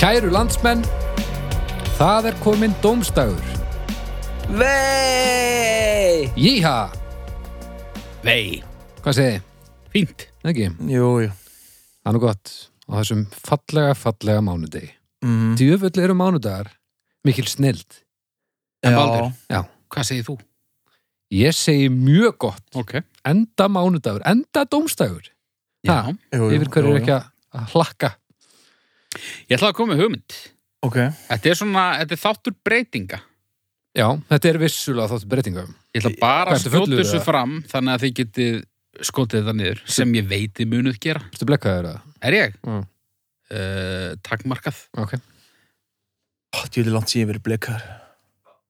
Kæru landsmenn, það er kominn dómstagur. Vei! Jíha! Vei, Hvað segið þið? fínt. Ekki? Jú, jú Það er nú gott á þessum fallega, fallega mánudegi. mm. Djöfull eru mánudagar, mikil snild. En Já. Baldur? Já. Hvað segir þú? Ég segi mjög gott, Ok. enda mánudagur, enda dómstagur. Já. Ha. Jú, jú, Yfir hverju jú, er jú. ekki að- að hlakka. Ég ætla að koma með hugmynd. Ok, Þetta er svona, þetta er þáttur breytinga. Já, þetta er vissulega þáttu breytingum. Ég ætla bara Hvað að ertu skjóta fullur, þessu eða? fram þannig að þið getið skotið þetta niður sem ég veit þið munuð gera. Ertu blekkaður að? Er ég? Mm. Uh, takmarkað. Ok. Ó, djúli langt síðan verið blikar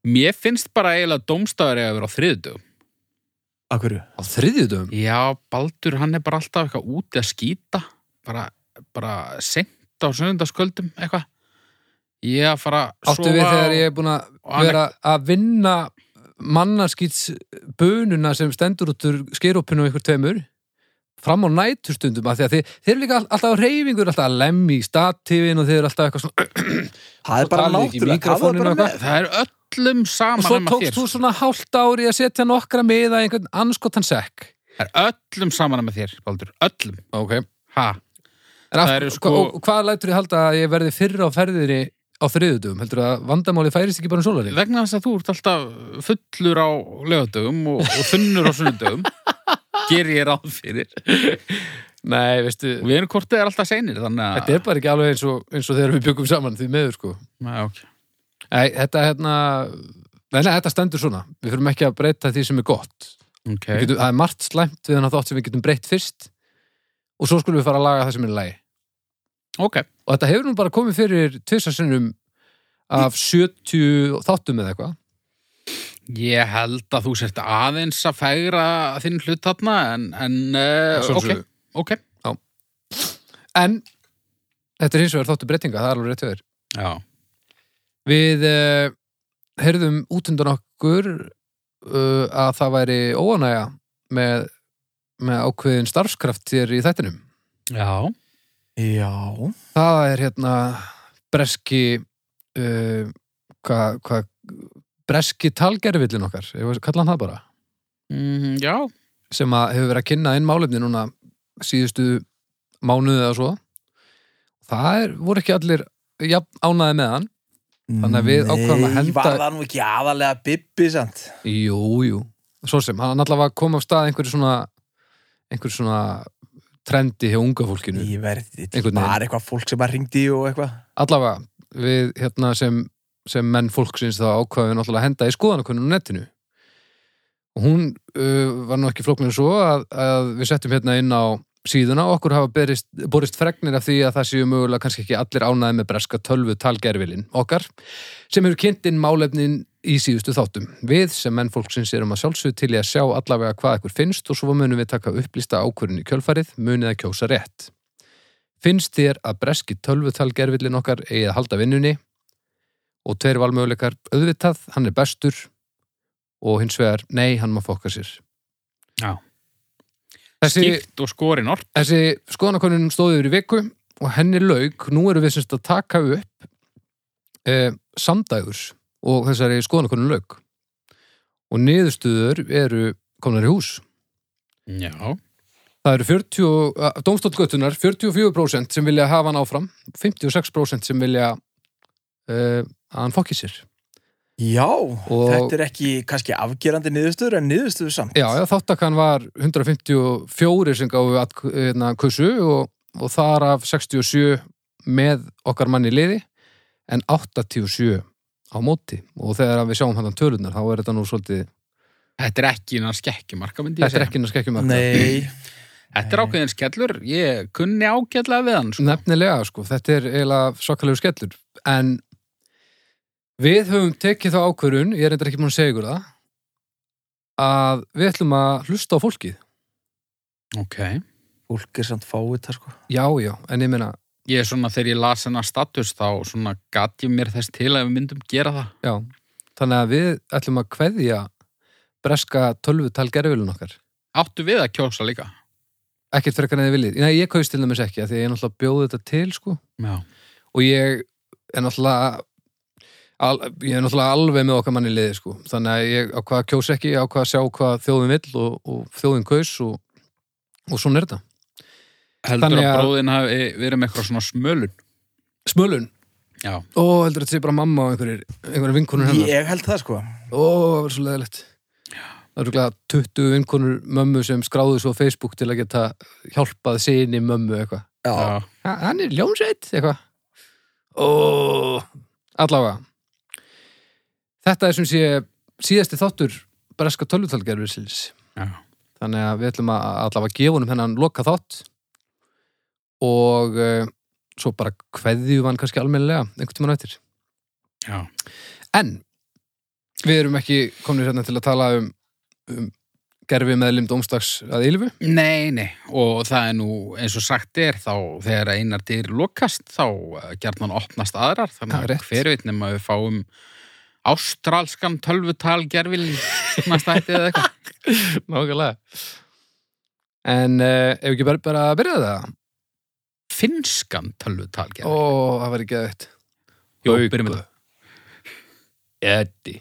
Mér finnst bara eiginlega dómstafur eiga að vera á þriðdugum. Af hverju? Á þriðjudum? Já, Baldur, hann er bara alltaf eitthvað úti að skýta. Bara, bara sent á söndagsköldum eitthvað. Ég að fara að Áttu við þegar ég er búin að og hann- vera að vinna mannarskýts bönuna sem stendur út úr skeirúpinu og einhver tveimur fram á næturstundum af því að þið, þið eru líka all- alltaf á reyfingur alltaf að lemmi í statífin og þið eru alltaf eitthvað svona Það er Svo bara talaðu ekki í náttúrulega Það var mikrófóninu bara og með Það er öllum og saman svo um að þér. tókst þú svona hálft ári að setja nokkra miða í einhvern anskotan sekk Það er öllum saman um að þér, Baldur. Öllum. ok en Ha? af, eru sko- og, og hvað lætur þið halda að ég verði fyrr á ferðinni á þriðutum heldur að vandamáli færist ekki bara um sólarinn Vegna þess að þú ert alltaf fullur á lögadögum og, og þunnur á sunnudögum. Ger ég ráð fyrir. nei veistu Og við erum kortið er alltaf seinir, þannig að... þetta er bara ekki alveg eins og, eins og þegar við byggum saman því meður sko Nei, ok. Nei, þetta hérna Nei, nei, þetta stendur svona. Við fyrir ekki að breyta því sem er gott. Ok. Okay. Getum, það er margt slæmt við hann þátt sem við getum breytt fyrst og svo skulum við fara að laga það sem er í lagi. Ok. Og þetta hefur nú bara komið fyrir tvisarsinnum af 70 þáttum eða eitthvað. Ég held að þú sért aðeins að fægra þinn hlut þarna, en... en uh, ok, Sjálfsögðu. ok. En þetta er hins vegar þáttu breytinga, það er alveg rétt hjá þér. Já. Við uh, heyrðum út undan okkur uh, að það væri óanæja með, með ákveðin starfskraft hér í þættinum. Já. Já, Það er hérna breski uh, hvað hva, breski talgerfillin okkar, ég veist, kalla hann það bara Mm, já. sem að hefur verið að kynna inn málefni núna síðustu mánuði eða svo það er, voru ekki allir jafn ánaði með hann Þannig að við ákváðum að henda- Nei, var það nú ekki aðalega Bibbi samt jú, jú, svo sem, hann allavega kom á stað einhverju svona einhverju svona trendi hjá unga fólkinu Ég verði Einhvern veginn. bara eitthvað fólk sem að ringdi og eitthvað allavega við hérna sem, sem menn fólksins þá ákvaðum við náttúrulega að henda í skoðanakunnum á netinu og hún uh, var nú ekki flóknir en svo að, að við settum hérna inn á síðuna og okkur hafa berist, borist fregnir af því að það séu mögulega kannski ekki allir ánæði með breska tölvu talgerfilin okkar sem hefur kynnt inn málefnin í síðustu þáttum. Við sem menn fólksins erum að sjálfsögðu til í að sjá allavega hvað ykkur finnst og svo munum við taka upplýsta ákvörðin í kjölfarið, munið að kjósa rétt. Finnst þér að breski tölvutalgerfillin okkar eigi að halda vinnunni og tveir valmöguleikar auðvitað, hann er bestur og hins vegar, nei, hann má fokka sér. Já. Þessi, Skipt og skorin orð. þessi skoðanakonunum stóði yfir í viku og henni lauk, nú eru við semst að taka upp e, samdægurs og þessari skoðanakonun lauk. Og niðurstöður eru komnar í hús. Já. Það eru eh, 40, dómstólgötunar, 44% sem vilja hafa hann áfram, 56% sem vilja uh, að hann fokki sér. Já, Og- þetta er ekki kannski afgerandi niðurstöður en niðurstöður samt Já, já þáttakann var 154 sem gáfu að hérna, kussu og, og þar af 67 með okkar manni í liði en 87 á móti og þegar að við sjáum hann tölunar þá er þetta nú svolítið, Þetta er ekki innan skekkjumarka, myndi ég þetta er segja. ekki inn að skekkjum Nei, Þetta er ákveðin skellur. Ég kunni ágætlega við hann, sko. Nefnilega, sko, þetta er eiginlega svakalegu skellur, en við höfum tekið þá ákvörun, ég er reyndar ekki múin að segja ykkur það, að við ætlum að hlusta á fólkið. Ok. fólk er samt fáið það sko Já, já, en ég meina, Ég er svona, þegar ég las hennar status, þá svona gat ég mér þess til að við myndum gera það. já, þannig að við ætlum að kveðja breska tölvutal gerfilun okkar. Áttu við að kjósa líka? Ekkert frekar en þið viljið. Nei, ég kaust til dæmis ekki, af því að ég náttúrulega bjóði þetta til, sko, Já. og ég er náttúrulega al, ég er náttúrulega alveg með okkar manni í liði sko. þannig að ég á hvað kjós ekki á hvað sjá hvað þjóðin vill og, og þjóðin kaus og, og svona er þetta Heldur Þannig að að- bróðin hafi verið með eitthvað svona smölun Smölun, Já, ó, heldur þetta sé bara mamma og einhverjir, einhverjir vinkonur hennar Ég held það sko Ó, það var svo leðilegt Það eru glæða 20 vinkonur mömmu sem skráðu svo á Facebook til að geta hjálpað sinni mömmu eitthvað Já, já, Ha- Hann er ljónsveit eitthvað Ó, allavega Þetta er sem sé síðasti þáttur breska tölvutalgerfisins já. Þannig að við ætlum að allavega gefa honum hennan loka þátt og uh, svo bara kveðjum hann kannski almennilega einhvern tímann á eftir já. En við erum ekki komnir hérna til að tala um, um gerfi meðlum dómstags að ylfu. Nei, nei, og það er nú eins og sagt er þá þegar einar dyr lokast þá eh, gjarnan opnast aðrar Það er þannig rétt. að hver veit nema við fáum ástralskan tölvutal gerfil næsta hætti eða eitthvað Nákvæmlega. En uh, ef ekki bara, bara að byrja það? Finskan Ó, tölvutal gerfil það var ekki að þetta. Jó, byrjum við það Eddi.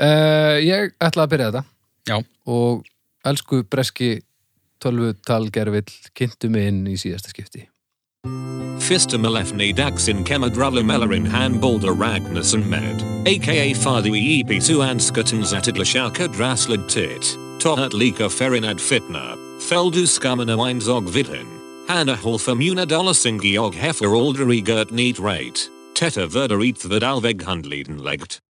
Uh, ég ætla að byrja þetta. Já. Og elsku breski tölvutalgerfill kynntu mig inn í síðasta skipti. Fistamalefni Daxin Kemadrala Melarin Han Balder Ragnarsson Med, aka Fadi Epitu Anskatin Zatidlashaka Draslid Tit, Tohat Lika Ferinad Fitna, Feldu Skamana Weinzog Vidhin, Hanna Holfamuna Dolasingi Og Hefer Alderi Gert Need Rate, Teta Verder Eat Vidalveg Hundleden Legt.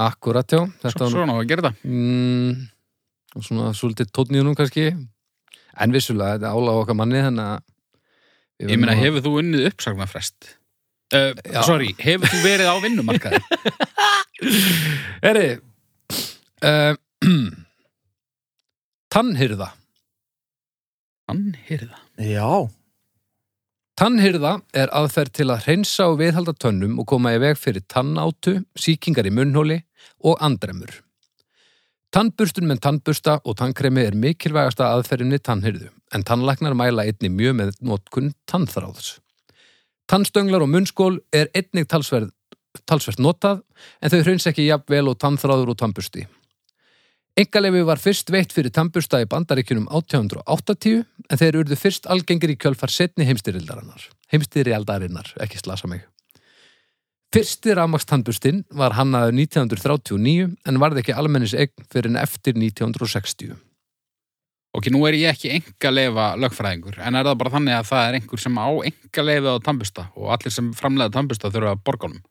Akkurat, já. Svo- var nú- Svona á að gera það mm, og svona svolítið tónn í honum kannski en vissulega, þetta álaga okkar manni þannig að við Ég verðum meina, að- hefur þú unnið uppsagnarfrest? Uh, Já. sorry, hefur þú verið á vinnumarkaði? Herri uh, Tannhyrða Hann heyrða já, Tannhyrða er aðferð til að hreinsa og viðhalda tönnum og koma í veg fyrir tannátu, sýkingar í munnhóli og andremur. Tannburstun með tannbursta og tannkremi er mikilvægasta aðferðinni tannhyrðu, en tannlæknar mæla einni mjög með notkun tannþráðs. Tannstönglar og munnskól er einnig talsverð, talsverð notað, en þau hreins ekki jafn vel og tannþráður og tannbursti. Engaleifi var fyrst veitt fyrir tannbursta í bandaríkjunum 1880 en þeir urðu fyrst algengir í kjölfar setni heimstyrjaldarinnar. Heimstyrjaldarinnar, ekki slasa mig. Fyrsti rafmakstandbustinn var hannaður 1939 en varð ekki almennis eign fyrir en eftir 1960. Ok, nú er ég ekki engaleifa lögfræðingur en er það bara þannig að það er einhver sem á engaleifa á tambusta og allir sem framlega tambusta þurfa að borga honum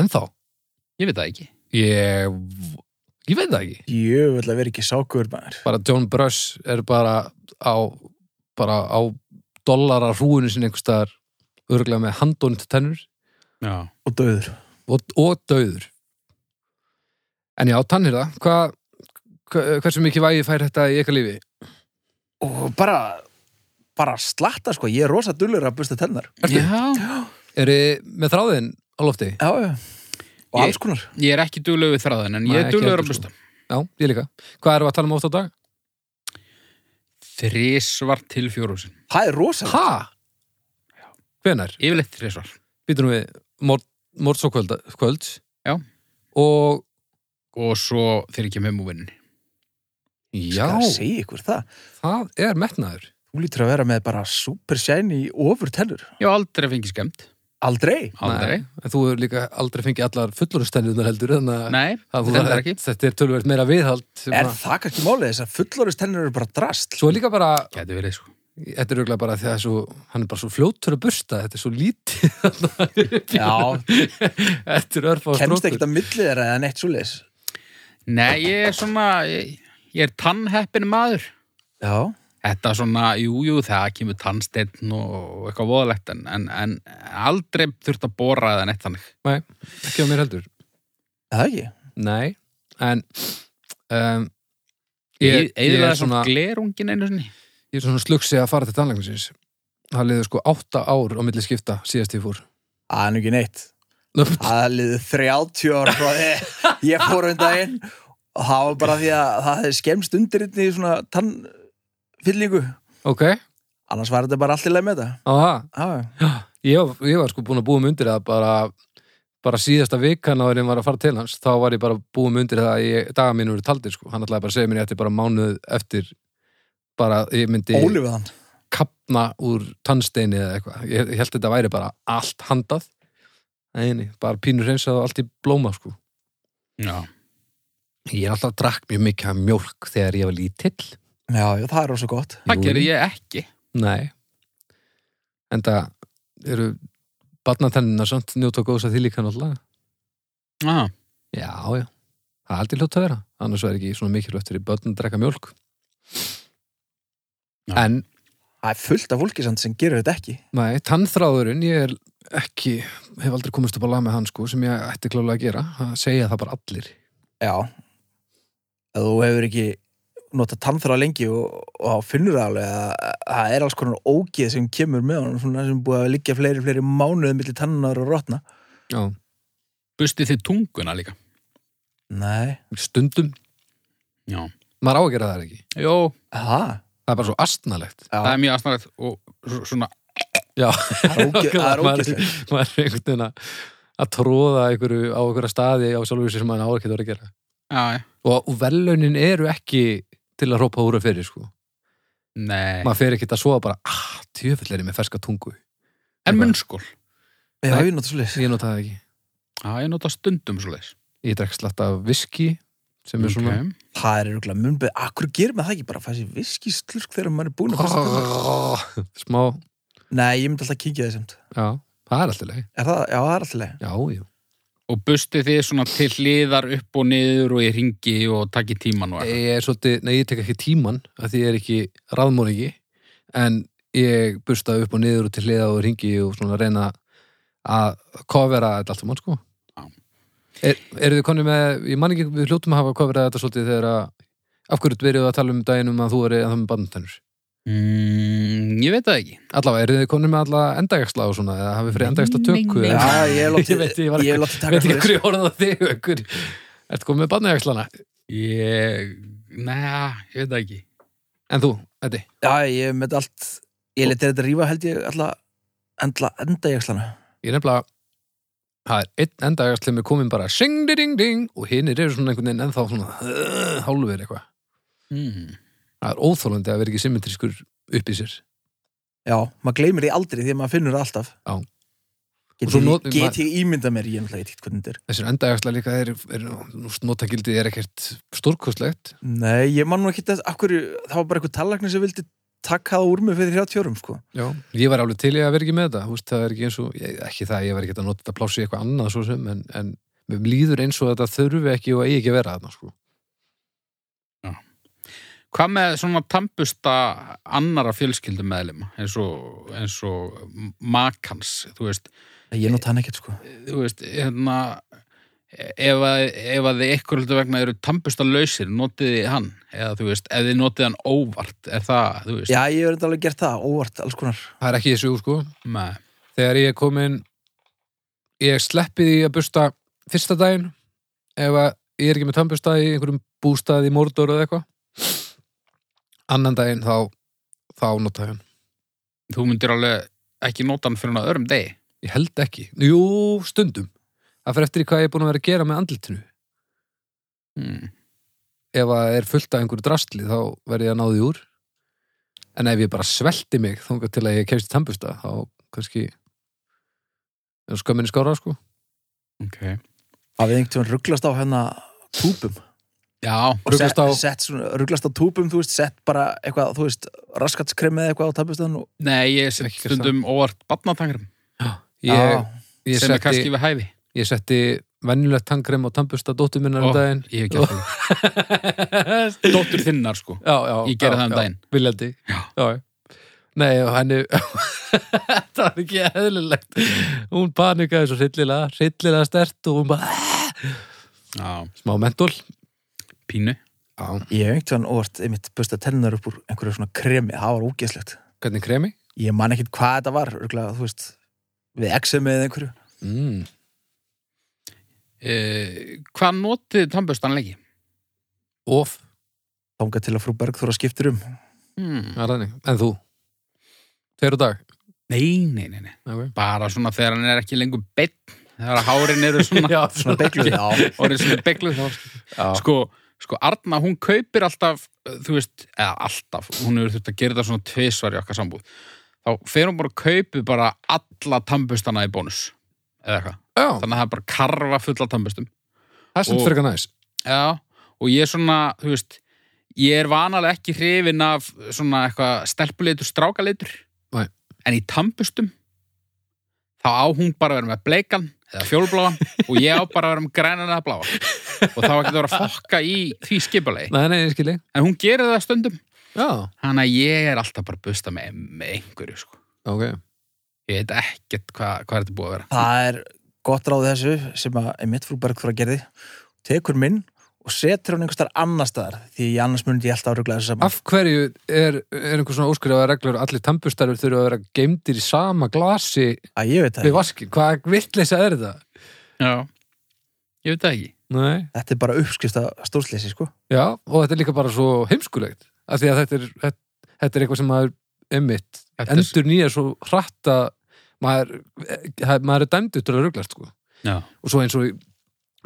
En þá, Ég veit það ekki ég, ég veit það ekki. jöfull að vera ekki sákur maður Bara John Bruss er bara á, bara á dollara hrúinu sinni einhverstaðar örglega með handónit tennur Já og döður og, og döður. En já, tannhyrða, hvað, hva- hversu mikið vægi fær þetta í eitthvað lífi? og bara, bara slatta sko, ég er rosa dullur að busta tennar Ertu? Já, Er þið með þráðin á lofti? já, já, og Ég- alls konar ég er ekki duglegu við þræðin en Nei, ég er ekki duglegur heldur, að sko. busta Já, ég líka. Hvað erum við að tala um oft á dag? Þrísvar til fjórhúsin það er rosa Ha? Hvenær? Yfirleitt þrísvar Býtum við mortsókvöld kvöld. Já. Og og svo þegar ég kem heim úr vinninni já, skal að segja ykkur það það er metnaður. þú lítur að vera með bara super shiny ofur tennur, Ég hef aldrei fengið skemmt aldrei Aldrei Nei, Nei, En þú hefur líka aldrei fengið allar fullorðstennurnar heldur þannig að- að þú- þetta er ekki þetta er tölvöld meira viðhald. sem er að- það kannski málið þess að fullorist tennur eru bara drast Svo er líka bara, Gæti verið sko þetta er auðvitað bara því að svo, hann er bara svo fljótur að bursta, þetta er svo lítið. já, þetta er örfáð kemst ekkert að milli þeirra eða neitt svo leis Nei, ég er svona ég, ég er tannheppin maður já, Þetta svona, jú, jú, það kemur tannsteinn og eitthvað voðalegt en, en, en aldrei þurft að bóra eða neitt þannig. Nei, ekki á mér heldur. Er það ekki Nei, en um, ég, ég, Ég, er eða svona svona, glerungin einu sinni. ég er svona slugsi að fara til tannlæknisins. Það liður sko átta ár á milli skipta síðast ég fór. Það er nú ekki neitt Nöpp. Það liði 30 ára frá því ég fór um daginn og það var bara því að það hefði skemst undir hérna í svona tannfyllingu Ok, annars var þetta bara allt í leið með þetta áha, Já, já. ég, var- ég var sko búin að búa mig undir það bara, bara síðasta vikan áður en var að fara til hans, þá var ég bara búin mig undir það að ég, dagar mínu voru taldir sko. hann ætlaði bara að segja mér ég ætti bara mánuð eftir bara, ég myndi Óli við hann kapna úr tannsteini eða eitthvað, ég, ég held þetta væri bara allt handað Neini, bara pínur reynsað og allt í blóma sko. Já. ég er alltaf drakk mjög mikið af mjólk þegar ég var lítill Já, já, það er ósvo gott Það Jú. gerði ég ekki. Nei En það eru barnatennina samt njóta góðs að því líka náttúrulega Já. Já, já, það er aldrei hljótt að vera annars er ekki svona mikilvægt fyrir börn að drekka mjólk Já. En, Það er fullt af fólki samt sem gerir þetta ekki nei, tannþráðurinn ég er ekki, hef aldrei komist upp á lag með hann sko, sem ég ætti klálega að gera að segja það bara allir Já Ef þú hefur ekki notað tannþrá lengi og, og þá finnur það alveg að að það er alls konar ógeð sem kemur með honum svona sem búið að liggja fleiri, fleiri mánuðum millir tannunar og rotna Já, Bustið þið tunguna líka. Nei stundum, Já. maður á að gera það ekki Jó, Það? Það er bara svo astnalegt Já, það er mjög aðsnarlegt og svo- svona, Já, það er ógeð- það er maður, ógeðslegt maður er einhvern veginn að að tróða einhverju á einhverja staði á sjálfur sér sem maður á ekki að vera að gera já, já. og velunin eru ekki til að hrópa úr að fyrir sko nei. maður fer ekki að sofa bara ah, tjöfull er ég með ferska tungu En munnskól. Já, ég notað svolítið ég nota það ekki, Já, ég nota stundum svo leiðis. ég drekk slatt af viski sem er svona Það er rúglega munbið, akkur gerir maður það ekki bara að fæða sér viski slurk þegar maður er búin að fæsta það? smá, Nei, ég myndi alltaf að kynkja þessamt. já, það er alltaf leið Er það, já, það er alltaf leið. já, já, Og bustið þið svona til hliðar upp og niður og í ringi og takki tíman og eitthvað. ég er svolítið nei, ég tek ekki tíman, af því ég er ekki ráðmóringi, en ég busta upp og niður og til hliða og ringi og svona reyna að kofera þetta allt um hann sko Já. er, eru þið konni með, ég man ekki við hljótum að hafa koferað þetta svolítið þegar að af hverju byrjuðu að tala um daginn um að þú eru að það með bandantennur Mm, ég veit það ekki. Allavega, eru þið konum með alla endagagsla og svona eða hafið fyrir endagagsla tökku Nei, nei, eða- Já, ég hef Ég látið, veit, ég var- hef látið veit taka ekki fyrir. hverju orðan það þig ykkur Ertu komið með barnagagslana? Ég, neða, ég veit það ekki. En þú, Eddi? Já, ég hef með allt, ég letið þetta rífa held ég alltaf endla enda jakslana. Ég er nefnilega það er einn endagagsl sem er komin bara sing di ding ding og hinnir eru svona einhvern veginn ennþá svona uh, hálfur eitthvað Mm. Það er óþólandi að vera ekki symmetriskur upp í sér Já, maður gleymir því aldrei því að maður finnur það alltaf. Já. Og Get svo ég, not- get ég ímyndað mér, ég er náttúrulega eitthvað hvernig þetta er. Þessir endagagsla líka er, er, er notagildið er ekkert stórkostlegt Nei, ég man nú ekki þess, akkur, það var bara eitthvað tallagni sem vildi taka það úr mig fyrir 30 árum, sko. Já, ég var alveg til í að vera ekki með þetta þú veist, það er ekki eins og, ég, ekki það að ég var ekki að nota þetta plási eitthvað annað svo sem en, en mér líður eins og þetta þurfi ekki og eigi ekki að vera þarna sko. Hvað með svona tampusta annara fjölskyldum meðlum eins og, eins og makans, þú veist, Ég nota hann ekkert, sko. þú veist, hérna, ef að, ef að þið ykkur hlutu vegna eru tampusta lausir, notið þið hann, eða þú veist, ef þið notið hann óvart, er það, þú veist, Já, ég hef alveg gert það, óvart, alls konar. það er ekki þessu sko. með, þegar ég er komin ég sleppi því að busta fyrsta daginn ef að ég er ekki með tannbusta í einhverjum bústað í Mordor eða eitthvað annan daginn þá þá nota ég hann þú myndir alveg ekki nota hann fyrir hann að örum degi. ég held ekki, jú stundum það fer eftir í hvað ég er búin að vera að gera með andlitinu Mm. ef að það er fullt af einhverju drastli þá verð ég að ná því úr en ef ég bara svelti mig þangað til að ég kemst í tannbusta þá kannski er skömmin skára sko Ok. að við einhvern veginn rugglast á hérna túpum Já, Og Ruglast á- sett, sett svona, rugglast á túpum, þú veist, sett bara eitthvað, þú veist, raskatskrem eða eitthvað á tapustann og nei, ég set Ekki gert stundum óvart barnatangrum, ég, ég, sem er kannski setti, við hæfi. ég setti vennilegt tangrem á tannbusta dóttur minnar um Ó, daginn Ég hef gert það. já, Dóttur þinnar, sko. já, Ég gerði já, það um já, daginn. viljandi Já. já. já. nei, og henni það var ekki eðlilegt hún panikaði svo hryllilega hryllilega stert og hún bara "Eh." Já, smá mentól pínu. já. ég hef einhvern veginn óvart einmitt busta tennar upp úr einhverju svona kremi, það var ógeðslegt. hvernig kremi? Ég man ekkert hvað þetta var, rugglega, þú veist, við exemi eða einhverju. Mm. Eh, hvað notið tannbustan lengi? of, Þangað til að frú Bergþóra skiptir um. Hmm. það er þannig en þú? tveir og dag? Nei, nei, nei, nei. Okay. Bara svona þegar hann er ekki lengur beinn, þegar hárin eru svona, Já, svona beglu já, orðin svona begluð, þá Já. sko, sko Arna, hún kaupir alltaf uh, þú veist, eða alltaf hún hefur þurft að gera það svona tvisvar í okkar sambúð þá fer hún bara að kaupi bara alla tannbustana í bónus eða eitthvað, Já, þannig að það er bara karfa fulla tannbustum það er sem Og- fyrir eitthvað næs. Já, og ég er svona, þú veist ég er vanalega ekki hrifin af svona eitthvað stelpuleitur, strákaleitur Nei. en í tannbustum þá á hún bara að vera með bleikan eða fjólbláan og ég á bara að vera með grænan eða bláan og þá ekki það vera að fokka í því skipulegi Nei, nei, ég skilji. en hún gerir það stundum Já, þannig að ég er alltaf bara að busta með, með einhverju sko. ok. ég veit ekkert hvað hva er þetta búið að vera það er gott ráð í þessu sem að Emmett frú Bergþóra gerði tekur minn og setur hann einhvers staðar annar staðar því í annars myndi ég alltaf áruglega þessu saman Af hverju er, er einhver svona óskrifaða reglur allir tampustarfur þurfa að vera geimdir í sama glasi að ég veit það við ekki. vaskin? Hvað vittleysa er þetta? Já. ég veit það ekki Nei. þetta er bara uppskrift að stórsleysi sko Já, og þetta er líka bara svo heimskulegt. Af því að þetta er, þetta, þetta er eitthvað sem maður emmitt. Þetta er- Endur nýja svo hratt að maður, eh, það- maður er dæmdur til að ruglast, sko. Já. Og svo eins og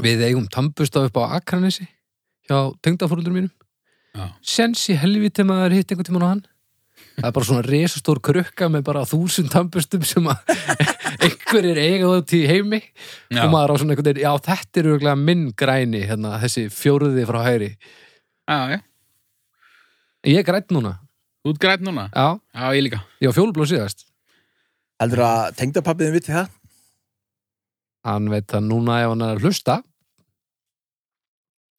við eigum tampustaf upp á Akranesi hjá tengdafóruldur mínum. Já. Sens í helviti maður hitt einhvern tímann á hann. Það er bara svona resastór krukka með bara þúsund tampustum sem að einhverjir eiga út í heimi Já. og maður á svona einhvern veginn, já þetta er örgulega minn græni hérna, þessi fjóruði frá hæri Já, já. Ég er grætt núna, Þú ert græt núna? já, Já, ég líka ég var fjólublóð síðast heldur að tengdapappiðin viti það Hann veit það núna ef hann er að hlusta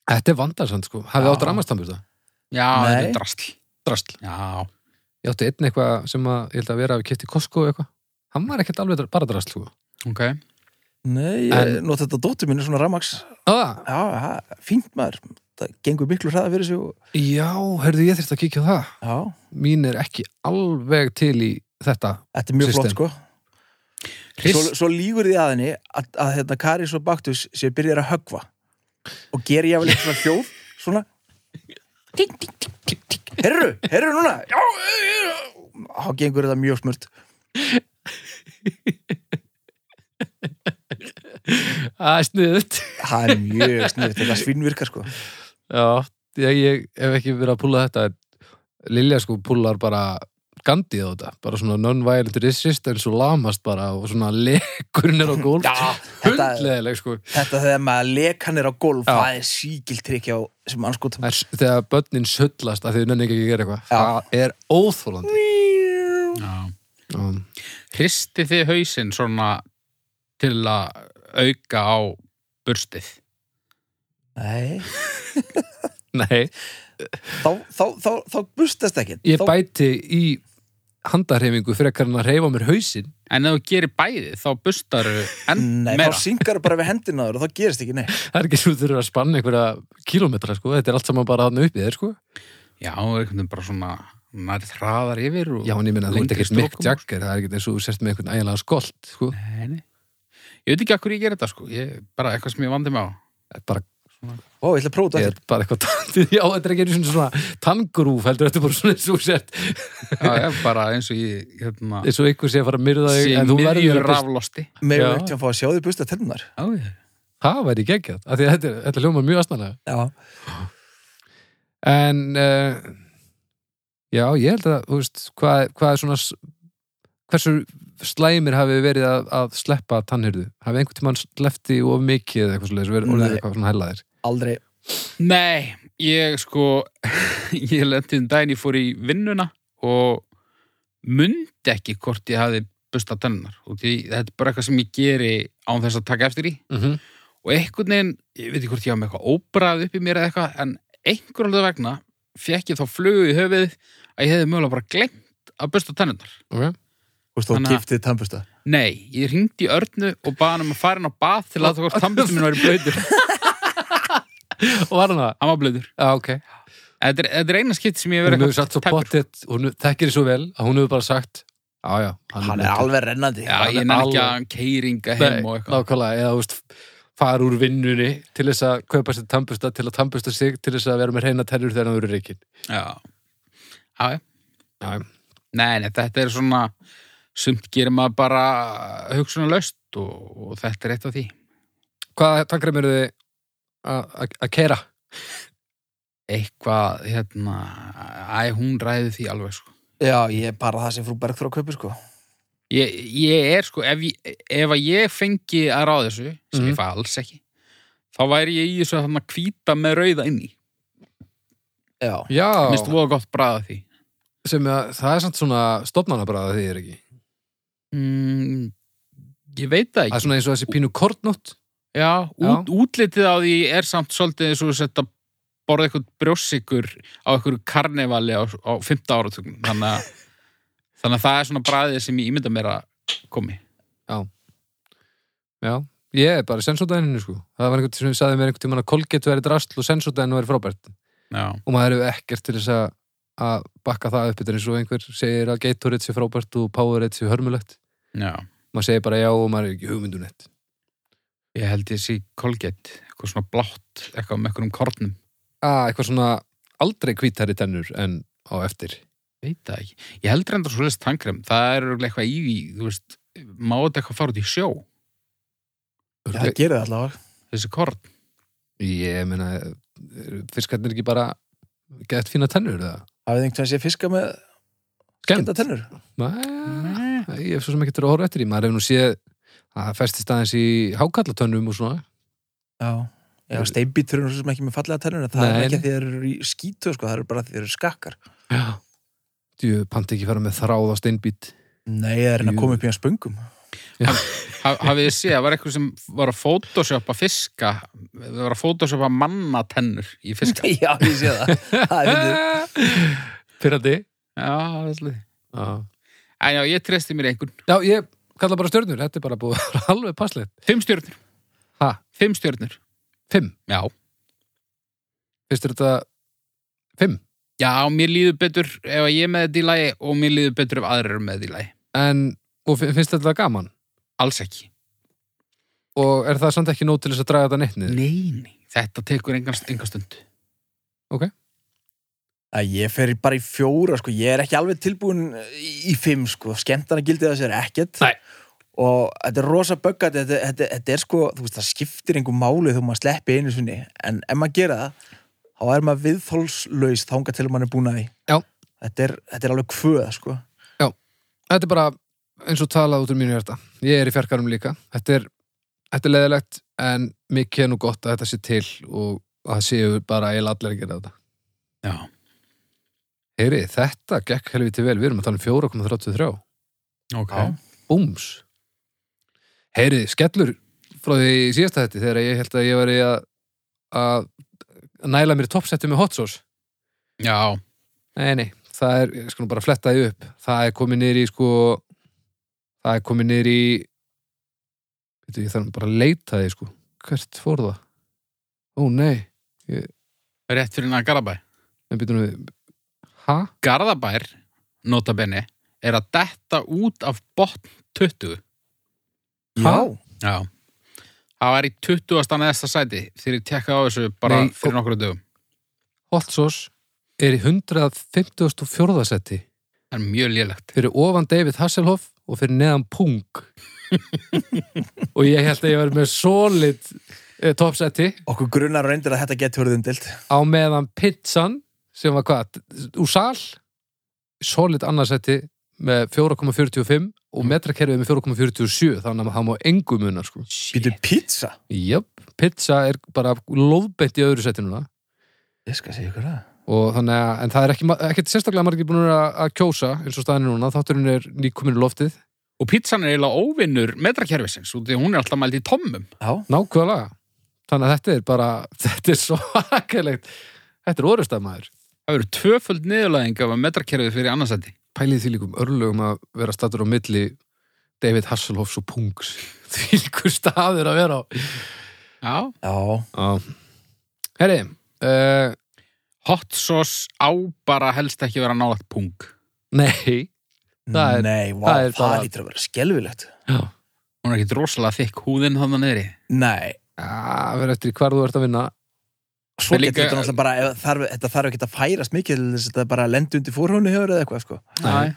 Þetta er vandarsand sko Hafið Já. átt rammastambur það Já, Nei. þetta er drastl Drastl Já, Ég átti einn eitthvað sem að, ég held að vera að við kipti Costco eitthvað Hann var ekkert alveg dra- bara drastl sko ok nei, ég nota þetta dóttur mín er svona ramaks ah, já, ha, fínt maður það gengur miklu hraða fyrir sig og, Já, heyrðu ég þyrst að kíkja á það já, Mín er ekki alveg til í þetta þetta er mjög System. flott sko svo, svo lígur því að henni að, að hérna, Karis og Baktus séu byrjar að höggva og gerir ég vel eitthvað svona hljóð svona ting, ting, ting, ting, ting. herru, herru núna já, já, já. þá gengur þetta mjög smurt Það er sniðut það er mjög sniðt, þetta svinnvirkar sko Já, ég, ég hef ekki verið að púla þetta en Lilja sko púlar bara Gandhi á þetta, bara svona non-violent resistance og lamast bara og svona lekurinn er á gólf þetta, hundleðileg sko þetta þegar maður lekan er á golf Já. það er síkiltrykk hjá sem anskotum Það er, s- þegar börnin sullast að þau nenni ekki að gera eitthvað Já. það er óþólandi Já. um, Hristi þið hausinn svona til að auka á burstið nei, Nei, þá, þá, þá, þá bustast ekki ég þá, bæti í handarhefingu frekar en að reyfa mér hausinn En ef þú gerir bæðið, þá bustaru enn nei, meira þá syngar bara við hendina á þér og þá gerist ekki neitt það er ekki svo þurfa að spanna einhverja kílómetra sko, þetta er allt saman bara þarna uppið þér sko Já, einhvern veginn bara svona nærið hraðar yfir og... Já, en ég meina þú ert Lengri ekkert mikk strokum. jagger, það er ekkert eins og þú sért með einhvern ægilega skolt sko Nei, nei. Ég veit ekki að hverju ég gerir þetta sko ég, Bara eitthvað sem ég vandi mig á Það er bara ó, ég ætla að prófa þetta Ég aftur. er bara eitthvað tandið, já, þetta er ekki einu sinni svona tangrúf, heldur þetta er bara svona eins og sért, Já, ég, bara eins og ég hérna, eins og ykkur sé að fara að myrða þig, sé en þú verður miðjur að best, raflosti Megum Já. við ekki að fá að sjá því busta tennunar? Já, ég það væri geggjað, af því að þetta, er- þetta hljóma mjög astanlega. Já. En, uh, já, ég held að, þú veist, hvað, hvað er svona, s- hversu slæmir hafi verið að, að sleppa tannhyrðu? Hafi einhvern tímann sleppti of mikið eða eitthvað svolítið, verið orðið Nei. eitthvað svona hellaðir? Aldrei. Nei, ég sko ég lenti um daginn, ég fór í vinnuna og mundi ekki hvort ég hafði busta tennar og því, þetta er bara eitthvað sem ég geri án þess að taka eftir í Mm -hmm. og einhvern veginn, ég veit ekki hvort ég hafa með eitthvað óbrað upp í mér eða eitthvað, en einhvern veginn vegna fekk ég þá flugu í höfuð að ég hefði mögulega bara glemt að busta tennunar. Ok, Þú veist, þú Þannig að- giftið tannbusta. Nei, ég hringdi í Örnu og baði hann um að fara inn á bað til að það hvort tambustu minn væri blöytur. og var hann það? Hann var blöytur. Já, ok. Þetta er, þetta er eina skipt sem ég hef Hún verið hefur satt svo tæpur. pottet, hún þekkir svo vel að hún hefur bara sagt, já, já, Hann er mökkur." alveg rennandi. Já, Hann ég er nefn ekki alveg- að hann keiringa Nei, heim og eitthvað. nákvæmlega, eða þú veist fara úr vinnunni til þess að kaupa sér tannbusta, til að tannbusta sig, til þess að vera með reyna tennur þegar hann verður reikinn. Já. Já, já. Já, Nei, nei, þetta er svona sumt gerir maður bara hugsunarlaust og, og þetta er eitt af því Hvaða tankrem eru þið að- að að keira? eitthvað, hérna æ, hún ræði því alveg sko Já, ég er bara það sem frú Bergþóra kaupir sko ég, ég er sko, ef, ég- ef að ég fengi að ráða þessu, sem Mhm. ég fæ alls ekki þá væri ég í þessu að þannig að hvíta með rauða inni, Já, Já, minnst voða gott bræða því sem að, það er samt svona stofnana bara að því er ekki. mm, ég veit það Það ekki er svona eins og þessi pínu kortnótt. já, út, útlitið á því er samt svolítið eins og þú sett að borða eitthvað brjósikur á eitthvað karnevali á, á 15 áratugn þannig að, þannig að það er svona bræðið sem ég ímynda mér að komi Já, ég er bara í sensódæninu sko. Það var einhvern sem við sagði mér einhvern tímann að Colgate væri drastl og sensódænin væri frábært. já, Og maður hefur ekkert til þess að, að bakka það upp þetta er eins og einhver segir að Gatorade sé frábært og Powerade sé hörmulegt. já, Maður segir bara já og maður er ekki hugmyndunett. ég held ég sé kolgett, eitthvað svona blátt eitthvað með eitthvað um kornum, Ah, eitthvað svona aldrei hvítari tennur en á eftir. veit það ekki ég held reyndar svo leist tangrem, það er örugglega eitthvað í því, þú veist, má þetta eitthvað fara út í sjó, það gerir það allavega þessi korn Ég meina, eru fiskarnir ekki bara gett fína tennur eða? Hafið þið einhvern veginn sé fiska með Skemmt. geta tennur? Nei, Eh. ég hef svo sem ekki til að horfa eftir í. Maður hefur nú séð að það festist aðeins í hákallatönnum og svona. Já Já, steinbítur eru svo sem ekki með fallega tennur en það Nei. er ekki að þeir eru í skítu sko, það eru bara að þeir eru skakkar Já. Djú, panti ekki fara með þráð á steinbít. Nei, það er hann Jú. að koma upp í hans spöngum Ha- hafið þið séð, það var eitthvað sem var að photoshoppa fiska það var að photoshoppa mannatennur í fiska já, Já, ég sé það Það er fyndið. Pyrrandi. það er svolítið Já. en já, ég treysti mér einhvern, Já, ég kalla bara stjörnur. Þetta er bara búið að vera alveg passlegt. fimm stjörnur Ha, fimm stjörnur, fimm. já Fyrst er þetta fimm. já, mér líður betur ef að ég er með þetta í lagi og mér líður betur ef aðrir eru með þetta í lagi En, og fi- finnst þetta gaman? alls ekki, Og er það samt ekki nóg til þess að draga þetta neitt niður? nei, nei þetta tekur engan, engan stund Að ég fer í- bara í fjóra sko, ég er ekki alveg tilbúin í í fimm sko, skemmtana gildið þessi er ekkert Nei. og þetta er rosa böggat þetta, þetta, þetta er sko, þú veist, það skiptir einhver máli þegar maður sleppi einu sinni en ef maður gera það, þá er maður viðþólslaus þánga til maður er búin að því Já. þetta er, þetta er alveg kvöð sko. Þetta er bara eins og talað út úr mínu hjarta. Ég er í fjarkarum líka. Þetta er, þetta er leðilegt, en mikið er nú gott að þetta sé til og að það séu bara eil allir að gera þetta. já, Heyri, þetta gekk helviti vel. Við erum að tala um 4,33. ok Búms. Heyri, skellur frá því í síðasta þetta þegar ég held að ég var í að, að næla mér toppsetti með hot sauce. já, Nei, nei, það er, ég skal nú bara fletta því upp. Það er komið niður í sko, það er komið niður í, veitu, ég þarf bara að leita því sko. Hvert fór það? Ó, nei. rétt fyrir hann að Garðabæ En býtum við, ha? Garðabær, notabenni er að detta út af botn 20 Ha? Já. Það var í 20. neðsta sæti þegar ég tekkaði á þessu bara Nei, fyrir nokkru dögum. Hot sauce er í 154. seti. Það er mjög lélegt. fyrir ofan David Hasselhoff og fyrir neðan Pung og ég held að ég var með solid eh, topsetti Okkur grunar reyndir að þetta getur verið umdilt á meðan pizzan sem var hvað, úr sal solid annarsetti með 4,45 og metrakerfið með 4,47 þannig að það má engu munar sko. Býtu pizza? Jöp, pizza er bara lofbent í öðru seti núna Ég skal segja ykkur það og þannig að, en það er ekki, ekki sérstaklega margir búin að, að kjósa eins og staðinu núna, þátturinn er nýkominu loftið Og pizzan er eiginlega óvinnur metrakerfisins út því að hún er alltaf mælt í tommum. Já, Nákvæmlega. Þannig að þetta er bara, þetta er svakalegt. Þetta er orðustafmaður. Það eru tvöföld niðurlæðing af metrakerfið fyrir annarsæti. Pælið því líkum örlögum að vera stattur á milli David Hasselhoffs og Punks. Því líkur staður að vera á. Já. já Já. Herri, uh, Hot sauce á bara helst ekki vera nálægt pung. nei. Það er- Nei, vá, það er það, bara- lítur að vera skelfilegt Já. Hún er ekkit rosalega þykk húðin þannig niðri. Nei, Það verður eftir í hvar þú ert að vinna. Svo En getur líka- þetta náttúrulega bara, ef þarf, þetta þarf ekki að færast mikið til þess að þetta bara lendi undir fórhónu hefur eða eitthvað, sko. Nei.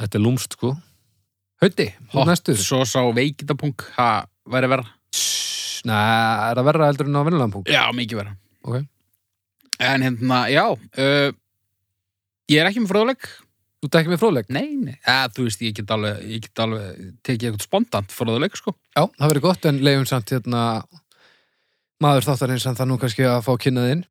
Þetta er lúmst, sko. Hauti, Hot næstu svo sá veikindapunk, það væri verra Nei, er það verra heldur en á vennilegan punkt? já, mikið verra Ok. en hérna, já uh, ég er ekki með fróðleik Þú ert ekki með fróðleik? nei, nei, ja, þú veist, ég get alveg, ég get alveg tekið eitthvað spontant fróðleik, sko Já, það verður gott en leiðum samt hérna maður þáttarins en það nú kannski að fá kynnað inn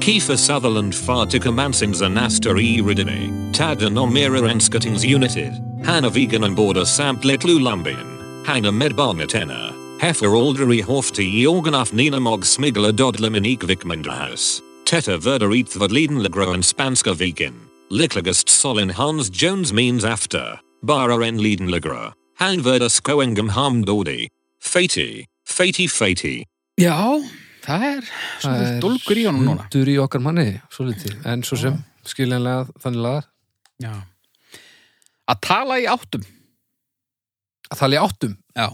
Kiefer Sutherland Fartika Mansins Anaster E. Ridine, Tadan Omira Enskatings United, Hanna Vegan and Border Samplet Lulambin, Hanna Medbarnatena, Heffer Alderi Hofti Jorganaf Nina Mog Smigla Dodlaminik Vikmandrahaus, Teta Verder Eat Vadleden Legro and Spanska Vegan, Liklagast Solin Hans Jones means after, Bara en Leden Legro, Han Verder Skoengam Hamdodi, Fati, Fati Fati. já, það er Það svona er dólgur í honum núna Hundur í okkar manni, svo litið En svo sem, skiljanlega þannig lagar já. að tala í áttum Að tala í áttum já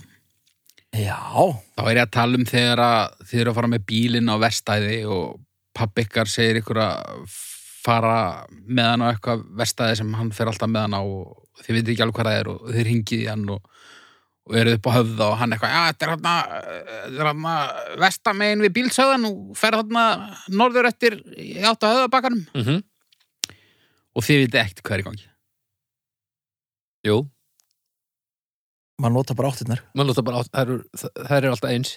Já, Þá er ég að tala um þegar að þið eru að fara með bílinn á vestæði og pappi ykkar segir ykkur að fara með hann á eitthvað vestæði sem hann fer alltaf með hann á og þið veitir ekki alveg hvað það er og þið ringið í hann og, og eru upp á höfða og hann eitthvað, já, þetta er hann þetta er hann að vestamein við bílsöðan og fer hann að norður eftir í átt að höfðabakkanum mm -hmm. og þið veitir ekkert hvað er í gangi. Jú, maður nota bara áttirnar maður lóta bara átt Það eru, það eru alltaf eins